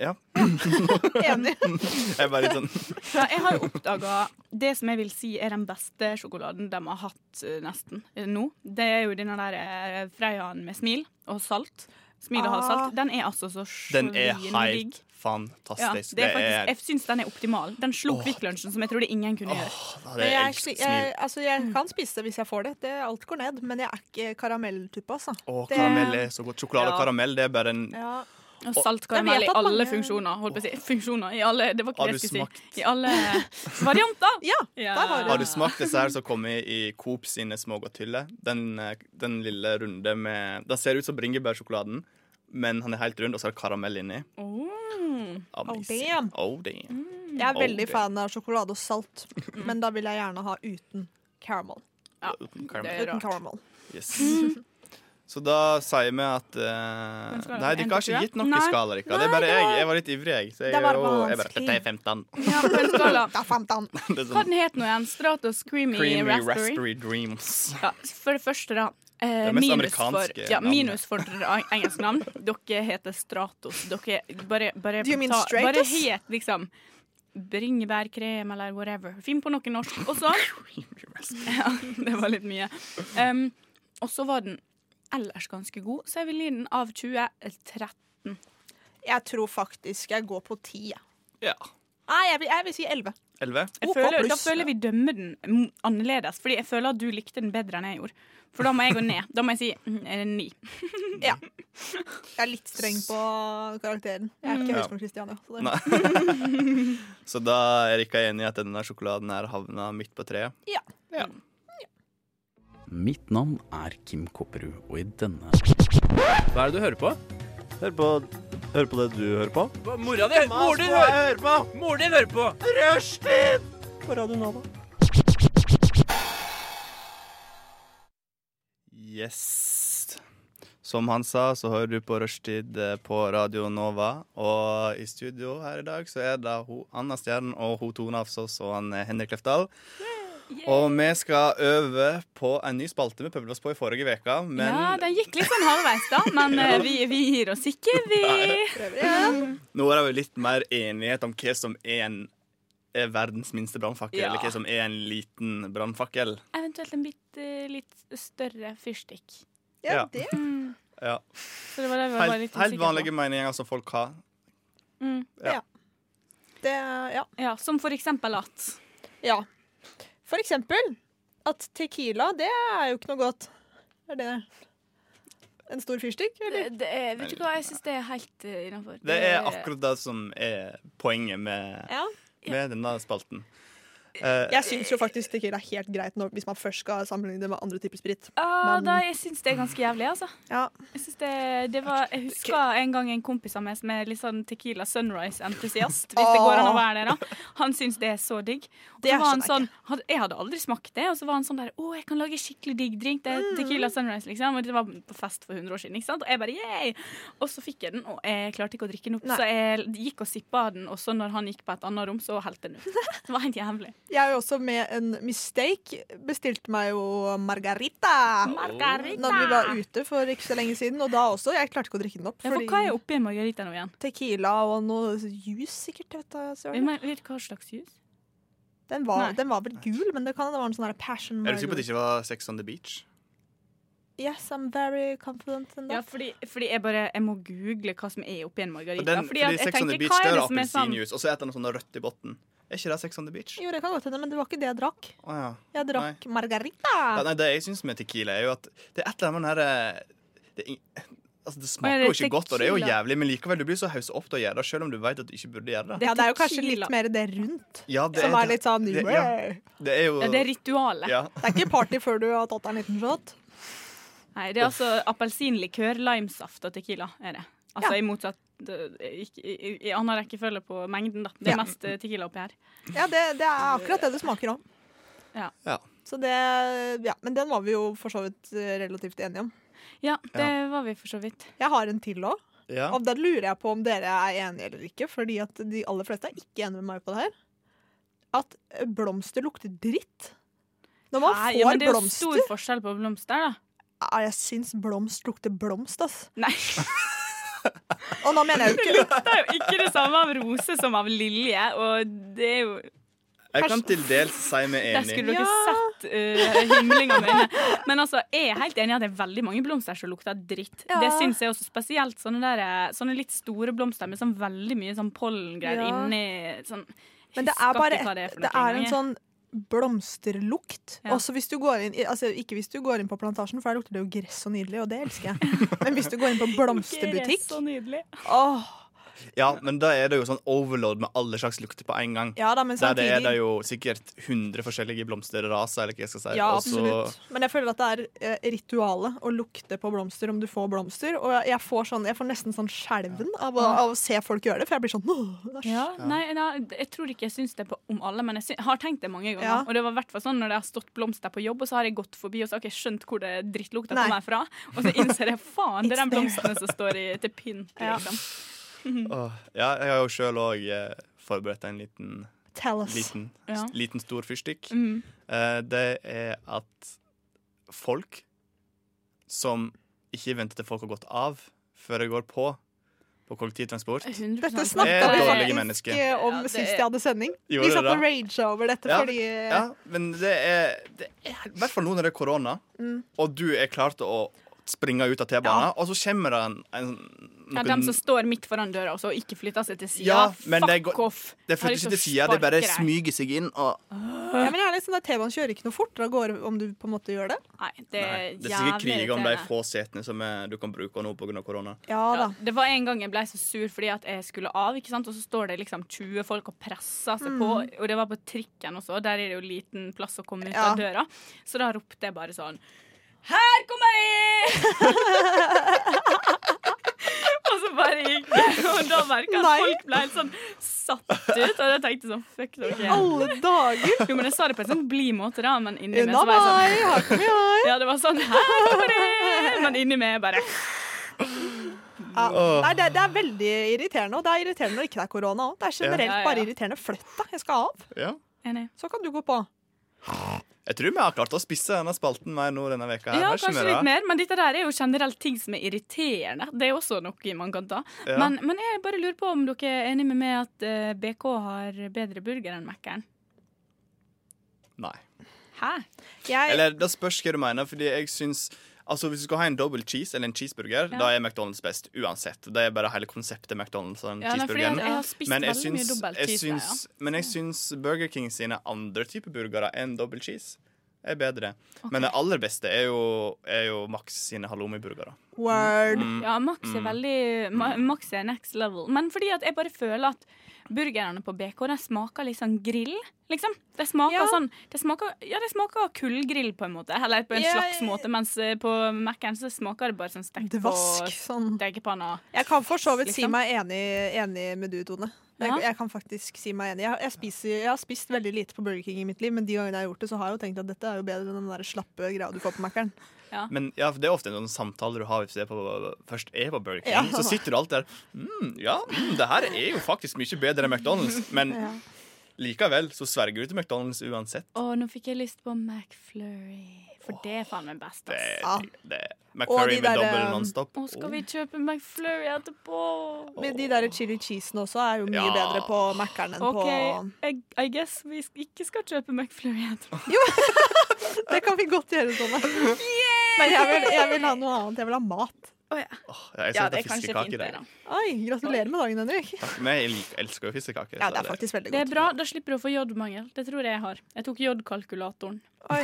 Enig.
Jeg er bare litt sånn
Så jeg har jo oppdaga det som jeg vil si er den beste sjokoladen de har hatt eh, nesten eh, nå. Det er jo denne der eh, Freiaen med smil og salt. Smil og
Ah.
halvsalt. Den er altså så
Den er
svindigg.
helt fantastisk.
Ja, det er faktisk, jeg syns den er optimal. Den slo Kvikk-lunsjen, som jeg trodde ingen kunne
da,
gjøre.
det er
jeg,
elsk-
jeg, altså, jeg kan spise det hvis jeg får det. det. Alt går ned. Men jeg er ikke karamelltype, altså.
Å,
Det-
karamell er så godt. Sjokolade og
Ja.
karamell, det er bare en
Ja.
Og salt
Jeg
karamell
vet
i
at
alle
mange-
funksjoner. Holdt på å si. Funksjoner i alle Det var ikke
Har
det
du
jeg skulle si. I alle varianter.
ja,
der har
Har du smakt disse her som kommer i Coop sine smågodthyller? Den, eh, den lille runde med Den ser ut som bringebærsjokoladen, men han er helt rund, og så er det karamell inni.
Mm.
Amazing.
damn.
Oh, damn.
Jeg er
Oh,
veldig
damn.
fan av sjokolade og salt, men da vil jeg gjerne ha uten caramel.
Uten karamell.
det er
Uten
rart.
caramel.
Yes. Så da sier vi at eh,
Hvem skal ha
Nei,
en
dere har
til
ikke
tre?
gitt noen
Nei.
skala, Rikard. Det er
Nei,
bare
det
jeg.
var-
Jeg var litt ivrig, jeg. Så jeg,
Det var
og, jeg bare
vanskelig.
Dette er 15.
Ja, på en skala.
Det er 15.
Det er
Hva
sånn
den het den igjen? Stratos Creamy,
creamy
Raspberry.
raspberry dreams.
Ja, for det første, da. eh,
Det mest
minus, for,
amerikanske
ja,
navnet.
minus for dere engelsk navn. Dere heter Stratos. Dere bare, bare,
Do you mean Stratos?
bare het liksom bringebærkrem eller whatever. Finn på noe norsk. Og så Ja, det var litt mye. Um, og så var den ellers ganske god, så jeg vil gi den av 2013.
Jeg tror faktisk jeg går på 10. jeg.
Ja.
Nei, jeg vil, jeg vil si 11.
11?
Jeg
OK
føler, da
pluss.
føler vi dømmer den mm, annerledes, Fordi jeg føler at du likte den bedre enn jeg gjorde. For da må jeg gå ned. Da må jeg si mm, eh, ni.
Jeg er litt streng på karakteren. Jeg er ikke
Ja.
Høgskolen Kristiania. Så
Mm.
det.
Nei. Så da er Rikka enig i at denne sjokoladen her havna midt på treet.
Ja.
Mitt navn er Kim Kopperud, og i denne
Hva er det du hører på?
Hør på, hør på det du hører på.
Hva- Mora di! Eh, Moren din hører
på!
Moren din hører på!
Rushtid! På Radio Nova.
Yes. Som han sa, så hører du på Rushtid eh, på Radio Nova. Og i studio her i dag så er det ho, Anna Stjernen og ho Tone Afsås og han eh, Henrik Klefdal. Og vi skal øve på en ny spalte vi prøvde oss på i forrige uke, men
ja, den gikk litt sånn halvveis, da, men eh, vi, vi gir oss ikke, vi.
nå er det jo litt mer enighet om hva som er en er verdens minste brannfakkel,
Ja.
eller hva som er en liten brannfakkel.
Eventuelt en bitte litt større fyrstikk.
Ja,
Ja.
det.
Ja.
Så det var det vi var
Helt,
litt
helt vanlige
usikre på.
meninger som folk har.
Mm.
Ja.
det ja.
Ja, som for eksempel at
ja. For eksempel at tequila, det er jo ikke noe godt. Er det en stor fyrstikk, eller?
det, er, Vet du hva, jeg syns det er helt eh, innafor.
Det er akkurat det som er poenget med
Ja.
med denne spalten. Eh,
Jeg syns jo faktisk tequila er helt greit når, hvis man først skal sammenligne det med andre typer sprit.
Ah,
Men-
da, jeg syns det er ganske jævlig, altså.
Ja.
Jeg, synes det, det var, jeg husker en gang en kompis av meg som er litt sånn Tequila Sunrise-entusiast. Hvis det går an å være det, da. Han syns det er så digg. Og
Det
så
er
var han
så
sånn, had- jeg hadde aldri smakt det, og så var han sånn der Å, jeg kan lage skikkelig digg drink. Det
Mm.
er Tequila Sunrise, liksom. Og det var på fest for 100 år siden, ikke sant. Og jeg bare yeah! Og så fikk jeg den, og jeg klarte ikke å drikke den opp.
Nei.
Så jeg gikk og sippa den, og så når han gikk på et annet rom, så helte den ut. Det var helt jævlig.
Jeg har jo også med en mistake bestilt meg jo margarita.
Margarita!
Når vi var ute for ikke så lenge siden, og da også. Jeg klarte ikke å drikke den opp.
Ja, for
fordi
hva er oppi en margarita nå igjen?
Tequila og noe juice, sikkert. Vet jeg,
Jeg
søren.
mener, Vet du hva slags juice?
den,
Nei.
var, den var vel gul, men det kan hende det var en sånn her passion
er du sikker på at det
margarita.
ikke var Sex on the Beach?
Yes, I'm very confident in
Ja,
that.
fordi, fordi jeg bare Jeg må google hva som er oppi en margarita.
Og den,
fordi at
fordi
jeg
Sex on the
tenker,
Beach
hva
det
er
er
det som er sånn
appelsinjuice, og så er det noe sånn rødt i bunnen. Er ikke det Sex on the Beach?
Jo, det kan godt hende, men det var ikke det jeg drakk.
Å ja.
Jeg drakk margarita.
Ja, nei, det jeg syns med tequila, er jo at det er et eller annet med den her, eh, det, er ing- altså, det
Å, ja,
smaker
det er
jo ikke godt, og det er jo
tequila.
jævlig, men likevel, du blir så hauset opp til å gjøre det, selv om du vet at du ikke burde gjøre det.
Det
Ja, det er jo
tequila.
kanskje litt mer det rundt
Ja, det
som
er
er litt sånn
det-
det,
ja. Det er jo
Ja, det er ritualet.
ja.
det er ikke party før du har tatt deg en liten shot.
Nei, det er altså appelsinlikør, limesaft og tequila. er det Altså
Ja.
i motsatt i, i, I annen rekkefølge på mengden, da. Det er
Ja.
mest eh, tequila oppi her.
Ja, det, det er akkurat det det smaker om.
Ja.
Ja.
Så det, ja, men den var vi jo for så vidt eh, relativt enige om.
Ja, det var vi for så vidt.
Jeg har en til òg,
Ja.
og da lurer jeg på om dere er enige eller ikke. Fordi at de aller fleste er ikke enige med meg på det her. At eh, blomster lukter dritt. Når man
Nei,
får
ja, men det er jo
blomster
stor forskjell på blomster, da.
Ja, Jeg syns blomst lukter blomst, ass.
Nei,
Og nå mener jeg jo ikke
det er jo ikke det samme av rose som av lilje, og det er jo
Jeg kan til dels si meg
Der
enig.
skulle dere sett uh, himlinga mine. Men altså, jeg er helt enig i at det er veldig mange blomster som lukter dritt.
Ja.
Det syns jeg også spesielt sånne, der, eh, sånne litt store blomster med sånn veldig mye sånn pollengreier
Ja.
inni sånn,
Men det
husker
er
ikke
bare
hva
et,
for
det
noe
er en
engang, jeg.
sånn blomsterlukt. Også hvis du går inn i, altså ikke hvis du går inn på plantasjen, for der lukter det jo gress så nydelig, og det elsker jeg. Men hvis du går inn på blomsterbutikk
Så nydelig.
Åh,
Ja, men da er det jo sånn overload med alle slags lukter på en gang.
Ja da, men
Der det er
samtidig-
det jo sikkert 100 forskjellige blomsterraser, eller hva jeg skal si.
Ja,
og så-
absolutt. Men jeg føler at det er eh, ritualet å lukte på blomster om du får blomster. Og jeg får, sånn, jeg får nesten sånn skjelven av, å- av å se folk gjøre det, for jeg blir sånn «Åh, æsj».
Ja, nei, nei, jeg tror ikke jeg syns det på, om alle, men jeg sy- har tenkt det mange ganger.
Ja.
Og det var i hvert fall sånn når det har stått blomster på jobb, og så har jeg gått forbi og så har ikke jeg skjønt hvor det drittlukta
Nei.
kommer fra. Og så innser jeg faen, det er de
It's
blomstene som står i, til pynt.
Ja.
Liksom.
Åh, ja, jeg har jo sjøl òg forberedt en liten
Tell us.
Liten,
Ja.
liten stor fyrstikk.
Mm.
Eh, det er at folk som ikke venter til folk har gått av, før de går på på kollektivtransport
Dette
er
snakka vi
dårlige
faktisk
mennesker.
eh, om
Ja, det-
sist jeg hadde sending.
Gjorde
Vi
det
satt
da?
og raga over dette
Ja,
fordi eh,
ja, men det er, det er I hvert fall nå når det er korona,
Mm.
og du er klar til å springe ut av T-banen, og så kommer det en, en
Ja, de som står midt foran døra og så ikke flytter seg til sida.
Ja, men det
Fuck
går-
off!
Det
Har
flytter
lyst
ikke
til
til
å
sida, det bare
sparke deg.
smyger seg inn. Og,
ja, men gjerne sånn at T-banen kjører ikke noe fortere av gårde om du på en måte gjør det.
Nei, det er
det er
jævlig
sikkert krig om de
irriterende.
få setene som eh, du kan bruke nå pga. korona.
Ja da.
Det var en gang jeg ble så sur fordi at jeg skulle av, ikke sant? og så står det liksom 20 folk og presser seg
Mm.
på. Og det var på trikken også, og der er det jo liten plass å komme ut
Ja.
av døra. Så da ropte jeg bare sånn Her kommer jeg! og så bare gikk jeg, og da merka jeg at folk ble helt sånn satt ut. Og jeg tenkte sånn fuck dere.
Alle dager!
Jo, men jeg sa det på en sånn blid måte, da, men inni meg
Unna
så var jeg
meg,
sånn
her kommer jeg.
Ja, det var sånn Her kommer jeg! Men inni meg bare
Ja. Nei, det, det er veldig irriterende, og det er irriterende når det ikke er korona òg. Det er
Ja,
generelt
ja, ja.
bare irriterende. Flytt deg, jeg skal av.
Ja.
Så kan du gå på.
Jeg tror vi har klart å spisse denne spalten mer nå denne veka. her.
Ja,
Har ikke
kanskje
vi det?
litt mer, men dette der er jo generelt ting som er irriterende. Det er også noe man kan ta.
Ja.
Men, men jeg bare lurer på om dere er enig med meg at eh, BK har bedre burger enn Mækkern?
Nei.
Hæ?
Eller det spørs hva du mener, fordi jeg syns Altså Hvis du skal ha en double cheese eller en cheeseburger,
Ja.
da er McDonald's best uansett. Det er bare hele konseptet McDonald's og den
Ja, nei, fordi
cheeseburgeren.
jeg- jeg har spist veldig mye dobbelt
jeg
cheese der,
syns, Men jeg syns Burger King sine andre typer burgere enn double cheese er bedre. Men det aller beste er jo, er jo Max sine halloumi-burgere.
Word.
Mm.
Ja, Max er
Mm.
veldig Ma- Max er next level. Men fordi at jeg bare føler at burgerne på BK de smaker litt sånn grill, liksom. Det smaker
Ja.
sånn det smaker, Ja, det smaker kullgrill på en måte, eller på en
Ja,
slags måte, mens eh, på Mækkern så smaker det bare sånn stekt på
Dvask, sånn.
stekepanna.
Jeg kan for så vidt si
Liksom.
meg enig, enig med du, Tone. Jeg,
Ja.
jeg kan faktisk si meg enig. Jeg, jeg, spiser, jeg har spist veldig lite på Burger King i mitt liv, men de gangene jeg har gjort det, så har jeg jo tenkt at dette er jo bedre enn den der slappe greia du får på Mækkern.
Men ja, for det er ofte en sånn samtale du har hvis du er på, først er på Burger King.
Ja.
Så sitter du alltid der mm, Ja, mm, det her er jo faktisk mye bedre enn McDonald's, men
Ja.
likevel så sverger du til McDonald's uansett.
Å, nå fikk jeg lyst på McFlurry. For det er faen meg best,
Det,
ass.
det, McFlurry
Altså. de
med
der,
dobbel
um,
nonstop. Oh,
Å, skal vi kjøpe McFlurry etterpå?
Men de der chili cheesene også er jo mye
Ja.
bedre på Mækkern enn
OK, I, I guess vi sk- ikke skal kjøpe McFlurry etterpå.
på Det kan vi godt gjøre, Tone. Men jeg vil, jeg vil ha noe annet. Jeg vil ha mat.
Ja, jeg skal ha fiskekake i dag.
Oi, gratulerer med dagen, Henrik.
Men jeg lik- elsker jo fiskekake.
Ja,
så
det er faktisk veldig
Det er
godt.
bra, da slipper du å få jodmangel. Det tror jeg jeg har. Jeg tok jodkalkulatoren.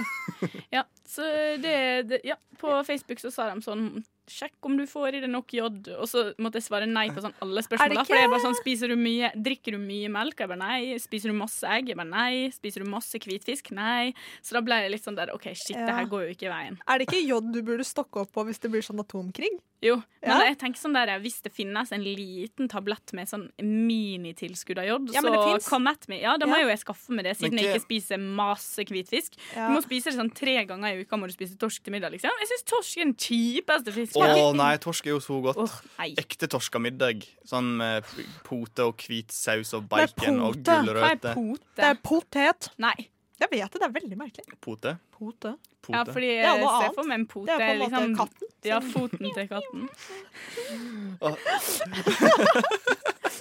Ja, så det, det Ja, på Facebook så sa de sånn Sjekk om du får i deg nok jod. Og så måtte jeg svare nei på sånn alle
Er det
spørsmål.
ikke-
da, For det er bare sånn Spiser du mye Drikker du mye melk? Jeg bare nei. Spiser du masse egg? Jeg bare nei. Spiser du masse hvitfisk? Nei. Så da ble jeg litt sånn der OK, shit,
Ja.
det her går jo ikke veien.
Er det ikke jod du burde stokke opp på hvis det blir sånn atomkrig?
Jo, men
Ja.
jeg tenker sånn der, hvis det finnes en liten tablett med sånn minitilskudd av jod,
Ja, men det
så
finnes.
come at me. Ja, da må
Ja.
jo jeg skaffe meg det, siden
Men
jeg
ikke-
ikke spiser masse hvitfisk.
Ja.
Du må spise det sånn tre ganger i uka må du spise torsk til middag, liksom. Jeg syns torsk er den kjipeste fisken.
Å nei, torsk er jo så godt.
nei.
Ekte torskemiddag. Sånn med p- pote og hvit saus og bacon og
Hva er
gulrøtter.
pote? Det er potet.
Nei.
Jeg vet det, det er veldig merkelig.
Pote?
Pote.
Ja, fordi
Det er
jeg
noe
ser
annet.
for meg en pote.
Det er på en måte
liksom,
katten sin.
Ah.
Ja, foten til katten.
Åh.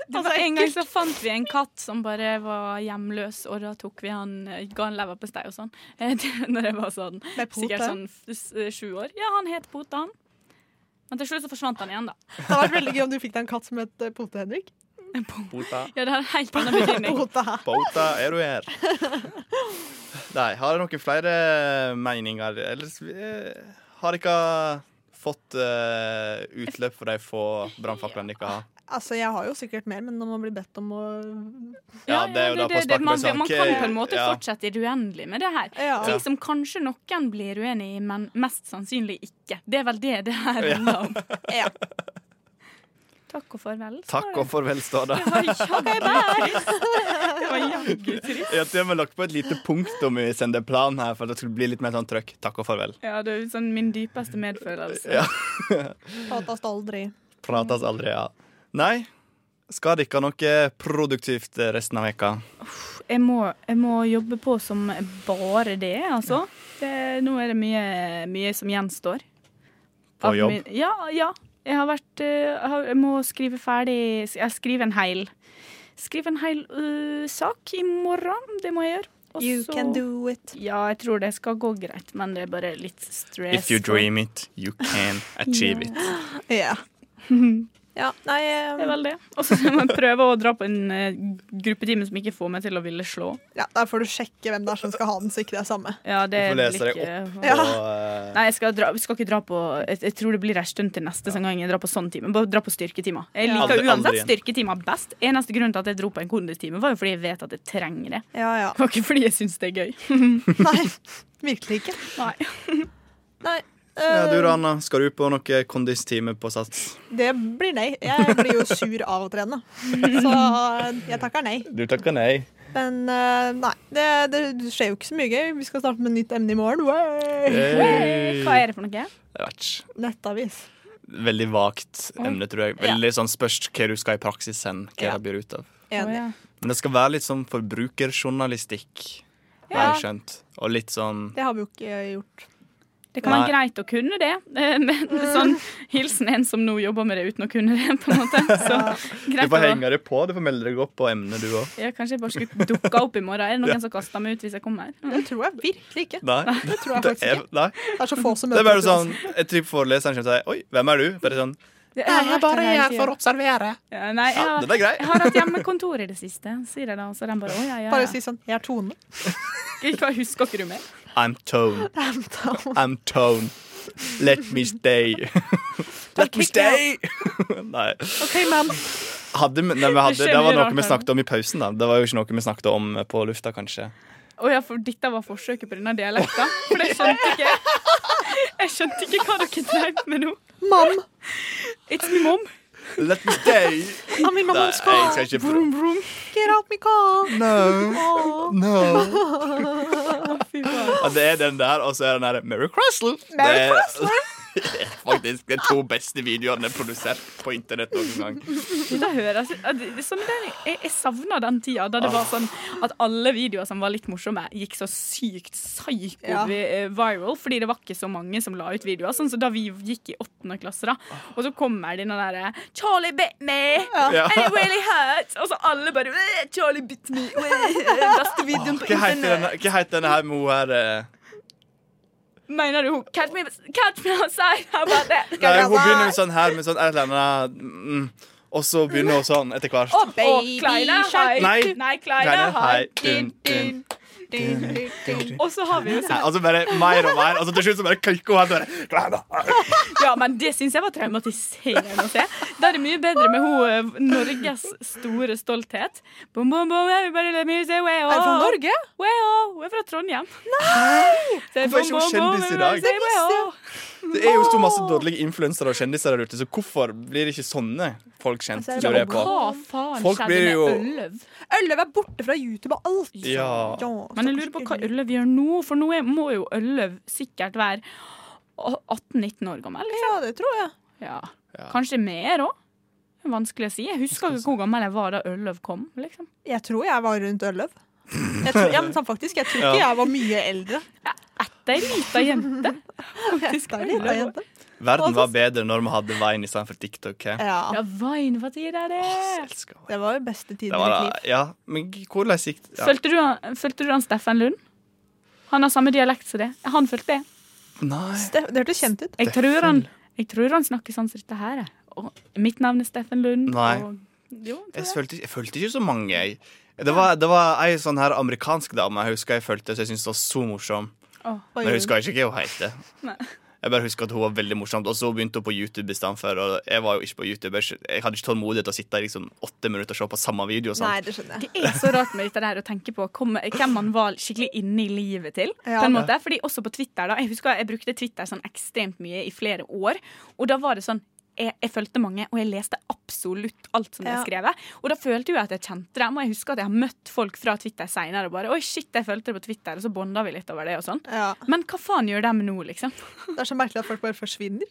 Det var
altså, en gang
ekkelt.
så fant vi en katt som bare var hjemløs, og da tok vi han, eh, ga han leverpostei og sånn. Eh, det- Når jeg var sånn,
Med Pota?
sikkert sånn f- s- eh, sju år. Ja, han het Pota, han. Men til slutt så forsvant han igjen, da.
Det hadde vært veldig gøy om du fikk deg en katt som het eh, Pote Henrik.
Pota.
Ja, det har en helt annen betydning.
Pota.
Pota, er du her? Nei, har dere noen flere meninger? Ellers eh, har dere fått eh, utløp for de få brannfaklene dere har?
Altså, jeg har jo sikkert mer, men når man blir bedt om å
Ja, det er jo da på sparket
man,
med sånn,
man
ok,
kan på en måte
ja.
fortsette i det uendelige med det her.
Ja.
Ting som kanskje noen blir uenig i, men mest sannsynlig ikke. Det er vel det det her
Ja.
handler om. Takk og farvel. sa
Takk
jeg.
og farvel, står det.
Det var jaggu trist. Det var jaggu trist.
Jeg har til og med lagt på et lite punktum i sendeplan her, for det skulle bli litt mer sånn trøkk. Takk og farvel.
Ja, det er jo sånn min dypeste medfølelse.
Ja.
Pratast aldri.
Prates aldri, ja. Nei, skal dere noe produktivt resten av veka?
Jeg må, jeg må jobbe på som bare det, altså. Det, nå er det mye, mye som gjenstår.
På
Av
jobb?
min- ja, ja. Jeg har vært eh, jeg har- Jeg må skrive ferdig Jeg skriver en hel Skrive en hel eh, sak i morgen. Det må jeg gjøre. Og
You
så-
can do it.
Ja, jeg tror det skal gå greit, men det er bare litt stress.
If you dream it, you can achieve it.
Ja. ja. Nei eh,
Det er vel det. Og så må jeg prøve å dra på en eh, gruppetime som ikke får meg til å ville slå.
ja, Der får du sjekke hvem det er som skal ha den, så ikke det er samme.
Ja, det
Du får lese
blir
deg
ikke-
opp på
Ja.
eh,
Nei, jeg skal, dra, vi skal ikke dra på jeg, jeg tror det blir en stund til neste gang jeg drar på sånn time. Bare dra på styrketimer. Jeg
Ja.
liker
Aldri- aldri
uansett
igjen.
styrketimer best. Eneste grunn til at jeg dro på en kondistime, var jo fordi jeg vet at jeg trenger det.
Ja, ja.
Det var ikke fordi jeg syns det er gøy.
Nei, virkelig ikke.
Nei.
Nei.
Ja, du
eh,
da, Anna. Skal du på noe kondistime på Sats?
ehm, Det blir nei. Jeg blir jo sur av å trene. Så eh, jeg takker nei.
Du takker nei.
Men eh, nei, det, det skjer jo ikke så mye gøy. Vi skal starte med et nytt emne i morgen.
Hey. Hva er
det for noe?
Jeg vet ikke.
Nettavis.
Veldig vagt emne, tror jeg.
Ja.
Veldig sånn spørs hva du skal i praksis hen, hva det blir ut av.
Enig.
Men det skal være litt sånn forbrukerjournalistikk, har
Ja.
jeg skjønt. Og litt sånn
Det har vi jo ikke gjort.
Det kan være
Nei.
greit å kunne det, eh, men
Mm.
sånn hilsen en som nå jobber med det uten å kunne det, på en måte. Så
Du
greit
får
å
henge deg på, du får melde deg opp på emnet, du òg.
ja, Kanskje jeg bare skulle dukka opp i morgen. Er det
Ja.
noen som kaster meg ut hvis jeg kommer?
Det tror jeg virkelig ikke.
Nei.
Det tror jeg faktisk
er,
ikke.
nei.
Det er så få som
Det er bare
opp
sånn
uansett.
Jeg tror foreleseren kommer til å si Oi, hvem er du? Bare sånn
Det
Nei, jeg bare er her for
å observere. Ja, nei, jeg,
Ja,
har-
den er grei.
jeg har hatt hjemmekontor i det siste, sier jeg da. Og så er den bare å ja, ja. ja.
Bare si sånn 'Jeg er Tone'.
Hva husker ikke du mer?
I'm Tone. I'm Tone. Let me stay. Let me stay! Nei.
OK, ma'am.
Hadde, vi- nei, vi hadde,
Det skjer
det var
mye
noe
rart
vi
her nå.
snakket om i pausen. da Det var jo ikke noe vi snakket om på lufta, kanskje.
Å ja, for dette var forsøket på denne dialekta. For jeg skjønte ikke Jeg skjønte ikke hva dere drev med nå.
Mam.
It's my mom.
Let me stay!
I'm in my mom's
Nei, jeg
car.
skal ikke prøve.
Vroom, vroom.
Get out my car.
No. No.
Åh.
Ja, det er den der, og så er den der Mary Crossley.
Mary
Det er-
Crossley.
Faktisk de to beste videoene produsert på internett noen gang.
Det høres ut- at det- som det, Jeg, jeg savner den tida da det var sånn at alle videoer som var litt morsomme, gikk så sykt
Ja.
psycho-viral. Fordi det var ikke så mange som la ut videoer. Sånn som da vi gikk i åttende klasse, da. Og så kommer de noen derre Charlie bit me!
Ja.
And it really hurt! Og så alle bare "Eh, Charlie bit me! Eh, Beste videoen på
Hva heter
internett.
denne, hva heter denne her med hun her eh?
Mener du catch me, catch me outside? How about that?
Nei, hun begynner sånn her med sånn et eller annet mm, Og så begynner hun sånn etter hvert.
Å, baby, Kleine hai.
Nei.
Nei,
Kleine
Kleine
hai.
hai. Din, din, din, din, din. Og så har vi jo
Nei,
sånn
altså bare mer og mer. Og så til slutt så bare klikker hun. her, Bare, Kleine hai.
Ja, men det syns jeg var traumatiserende å se. Da er det mye bedre med hun eh, Norges store stolthet. Bom, bom, bom, everybody let me say way
Er du fra
oh.
Norge?
Way oh. Hun er fra Trondheim. Nei!
Hvorfor er ikke hun kjendis i dag?
Say, way oh.
Det er jo så masse dårlige influensere og kjendiser der ute, så hvorfor blir ikke sånne folk kjent?
Altså, er det
tror jeg
bare
på?
Hva faen
Folk
skjedde
blir
med
jo-
Ølløv?
Ølløv er borte fra YouTube og alt.
Ja.
Men jeg lurer på hva Ølløv gjør nå, for nå er- må jo Ølløv sikkert være 18-19 år gammel. Liksom.
Ja, det tror jeg.
Ja. Kanskje mer òg. Vanskelig å si. Jeg husker ikke hvor gammel jeg var da Ølløv kom. Liksom.
Jeg tror jeg var rundt Ølløv. Jeg tror, ja, men sånn faktisk, jeg tror
Ja.
ikke jeg var mye eldre.
Det er ei lita jente.
Jeg er en liten jente.
Verden var bedre når vi hadde Vine istedenfor TikTok. ok?
Ja.
ja Vine, hva tid er det?
Det var jo beste
Det
tiden i
var
mitt
da,
liv.
ja, men hvordan gikk det? Ja.
Følte, du han, følte du han Steffen Lund? Han har samme dialekt som det. Han følte det.
Nei.
Det, det hørtes kjent ut.
Jeg tror han, jeg tror han snakker sånn som dette her. jeg. Og mitt navn er Steffen Lund.
Nei.
Og, jo, jeg tror
Jeg
det.
følte, jeg følte ikke så mange, jeg. Det var, det var ei sånn her amerikansk dame jeg husker jeg følte, så jeg syntes det var så morsom.
Å.
Men jeg husker ikke hva hun heter.
Nei.
Jeg bare husker at hun var veldig morsomt Og så begynte hun på YouTube istedenfor. Og jeg var jo ikke på YouTube. Jeg skj- Jeg hadde ikke tålmodighet til å sitte i liksom åtte minutter og se på samme video. Og sånt.
det skjønner
jeg. Det er så rart med dette der å tenke på kom- hvem man var skikkelig inne i livet til.
Ja.
På en måte. Fordi også på Twitter, da. Jeg husker jeg brukte Twitter sånn ekstremt mye i flere år. Og da var det sånn jeg, jeg fulgte mange, og jeg leste absolutt alt som ble
Ja.
skrevet. Og da følte jo jeg at jeg kjente dem, og jeg husker at jeg har møtt folk fra Twitter seinere og bare Oi, shit, jeg fulgte det på Twitter, og så bonda vi litt over det og sånn. Men hva faen gjør de nå, liksom?
Det er så merkelig at folk bare forsvinner.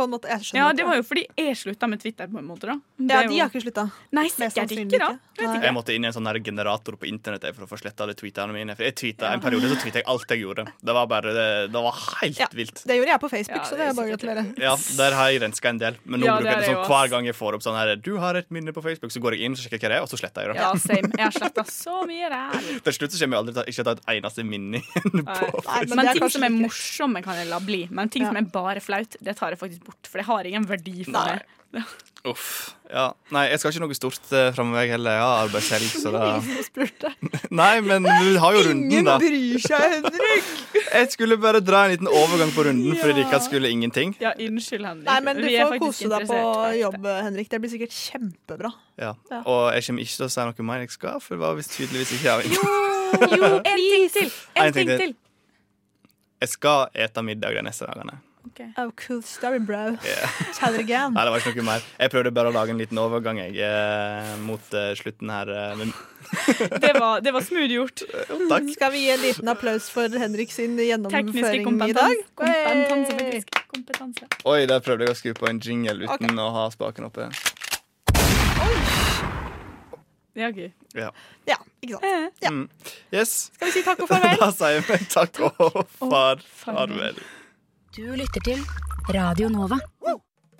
På en måte, jeg skjønner
Mm. Ja,
ikke.
det var jo fordi jeg slutta med Twitter, på en måte, da.
Ja,
Det er
de
jo-
har ikke slutta.
Nei,
Mest
sikkert
sannsynlig
ikke, da.
Jeg måtte inn i en sånn her generator på internett jeg, for å få sletta alle tweetene mine. For jeg tweetet, En periode så tweeta jeg alt jeg gjorde. Det var bare, det, det var helt vilt.
Det gjorde jeg på Facebook, så det er bare å gratulere.
Ja, Der har jeg renska en del. Men nå
Ja, det
bruker jeg det
er
sånn
jeg også.
hver gang jeg får opp sånn her Du har et minne på Facebook, så går jeg inn og sjekker hva det er, og så sletter jeg det.
Ja, same. Jeg har sletta så mye der.
Til slutt så kommer jeg aldri til å ikke ta et eneste minne igjen. på
Nei,
Facebook.
men ting som er morsomme, kan jeg la bli. Men ting som er bare flaut, det tar jeg faktisk bort. For det har ingen verdi for
Nei.
meg.
Uff. Ja. Nei, jeg skal ikke noe stort eh, framover, jeg heller. Jeg har arbeidshelg, så da Nei, men du har jo runden, da.
bryr seg, Henrik!
Jeg skulle bare dra en liten overgang på runden, fordi Rikard skulle ingenting.
Ja, unnskyld, Henrik.
Nei, men du
Vi er
får
faktisk
kose deg på
interessert.
jobb, Henrik. Det blir sikkert kjempebra.
Ja.
Ja.
Og jeg kommer ikke til å si noe mer jeg skal, for det var visst tydeligvis ikke av
Jo, en ting til!
En
En
ting
ting
til.
til.
Jeg skal ete middag de neste dagene.
Oh, cool story, bro.
Yeah.
Tell it again.
Nei, det var ikke noe mer. Jeg prøvde bare å lage en liten overgang jeg, eh, mot eh, slutten her. eh, men
Det var, det var smooth gjort.
takk.
Skal vi gi en liten applaus for Henrik sin
Tekniske
gjennomføring i dag?
kompetanse. Kompetanse, faktisk. Kompetanse.
Oi, der prøvde jeg å skru på en jingle uten
Ok.
å ha spaken oppe.
Ja, gøy.
Ja.
Ja, ikke sant. Ja.
Mm. Yes.
Skal vi si takk og farvel?
da sier vi takk og far, farvel.
Du lytter til Radio Nova.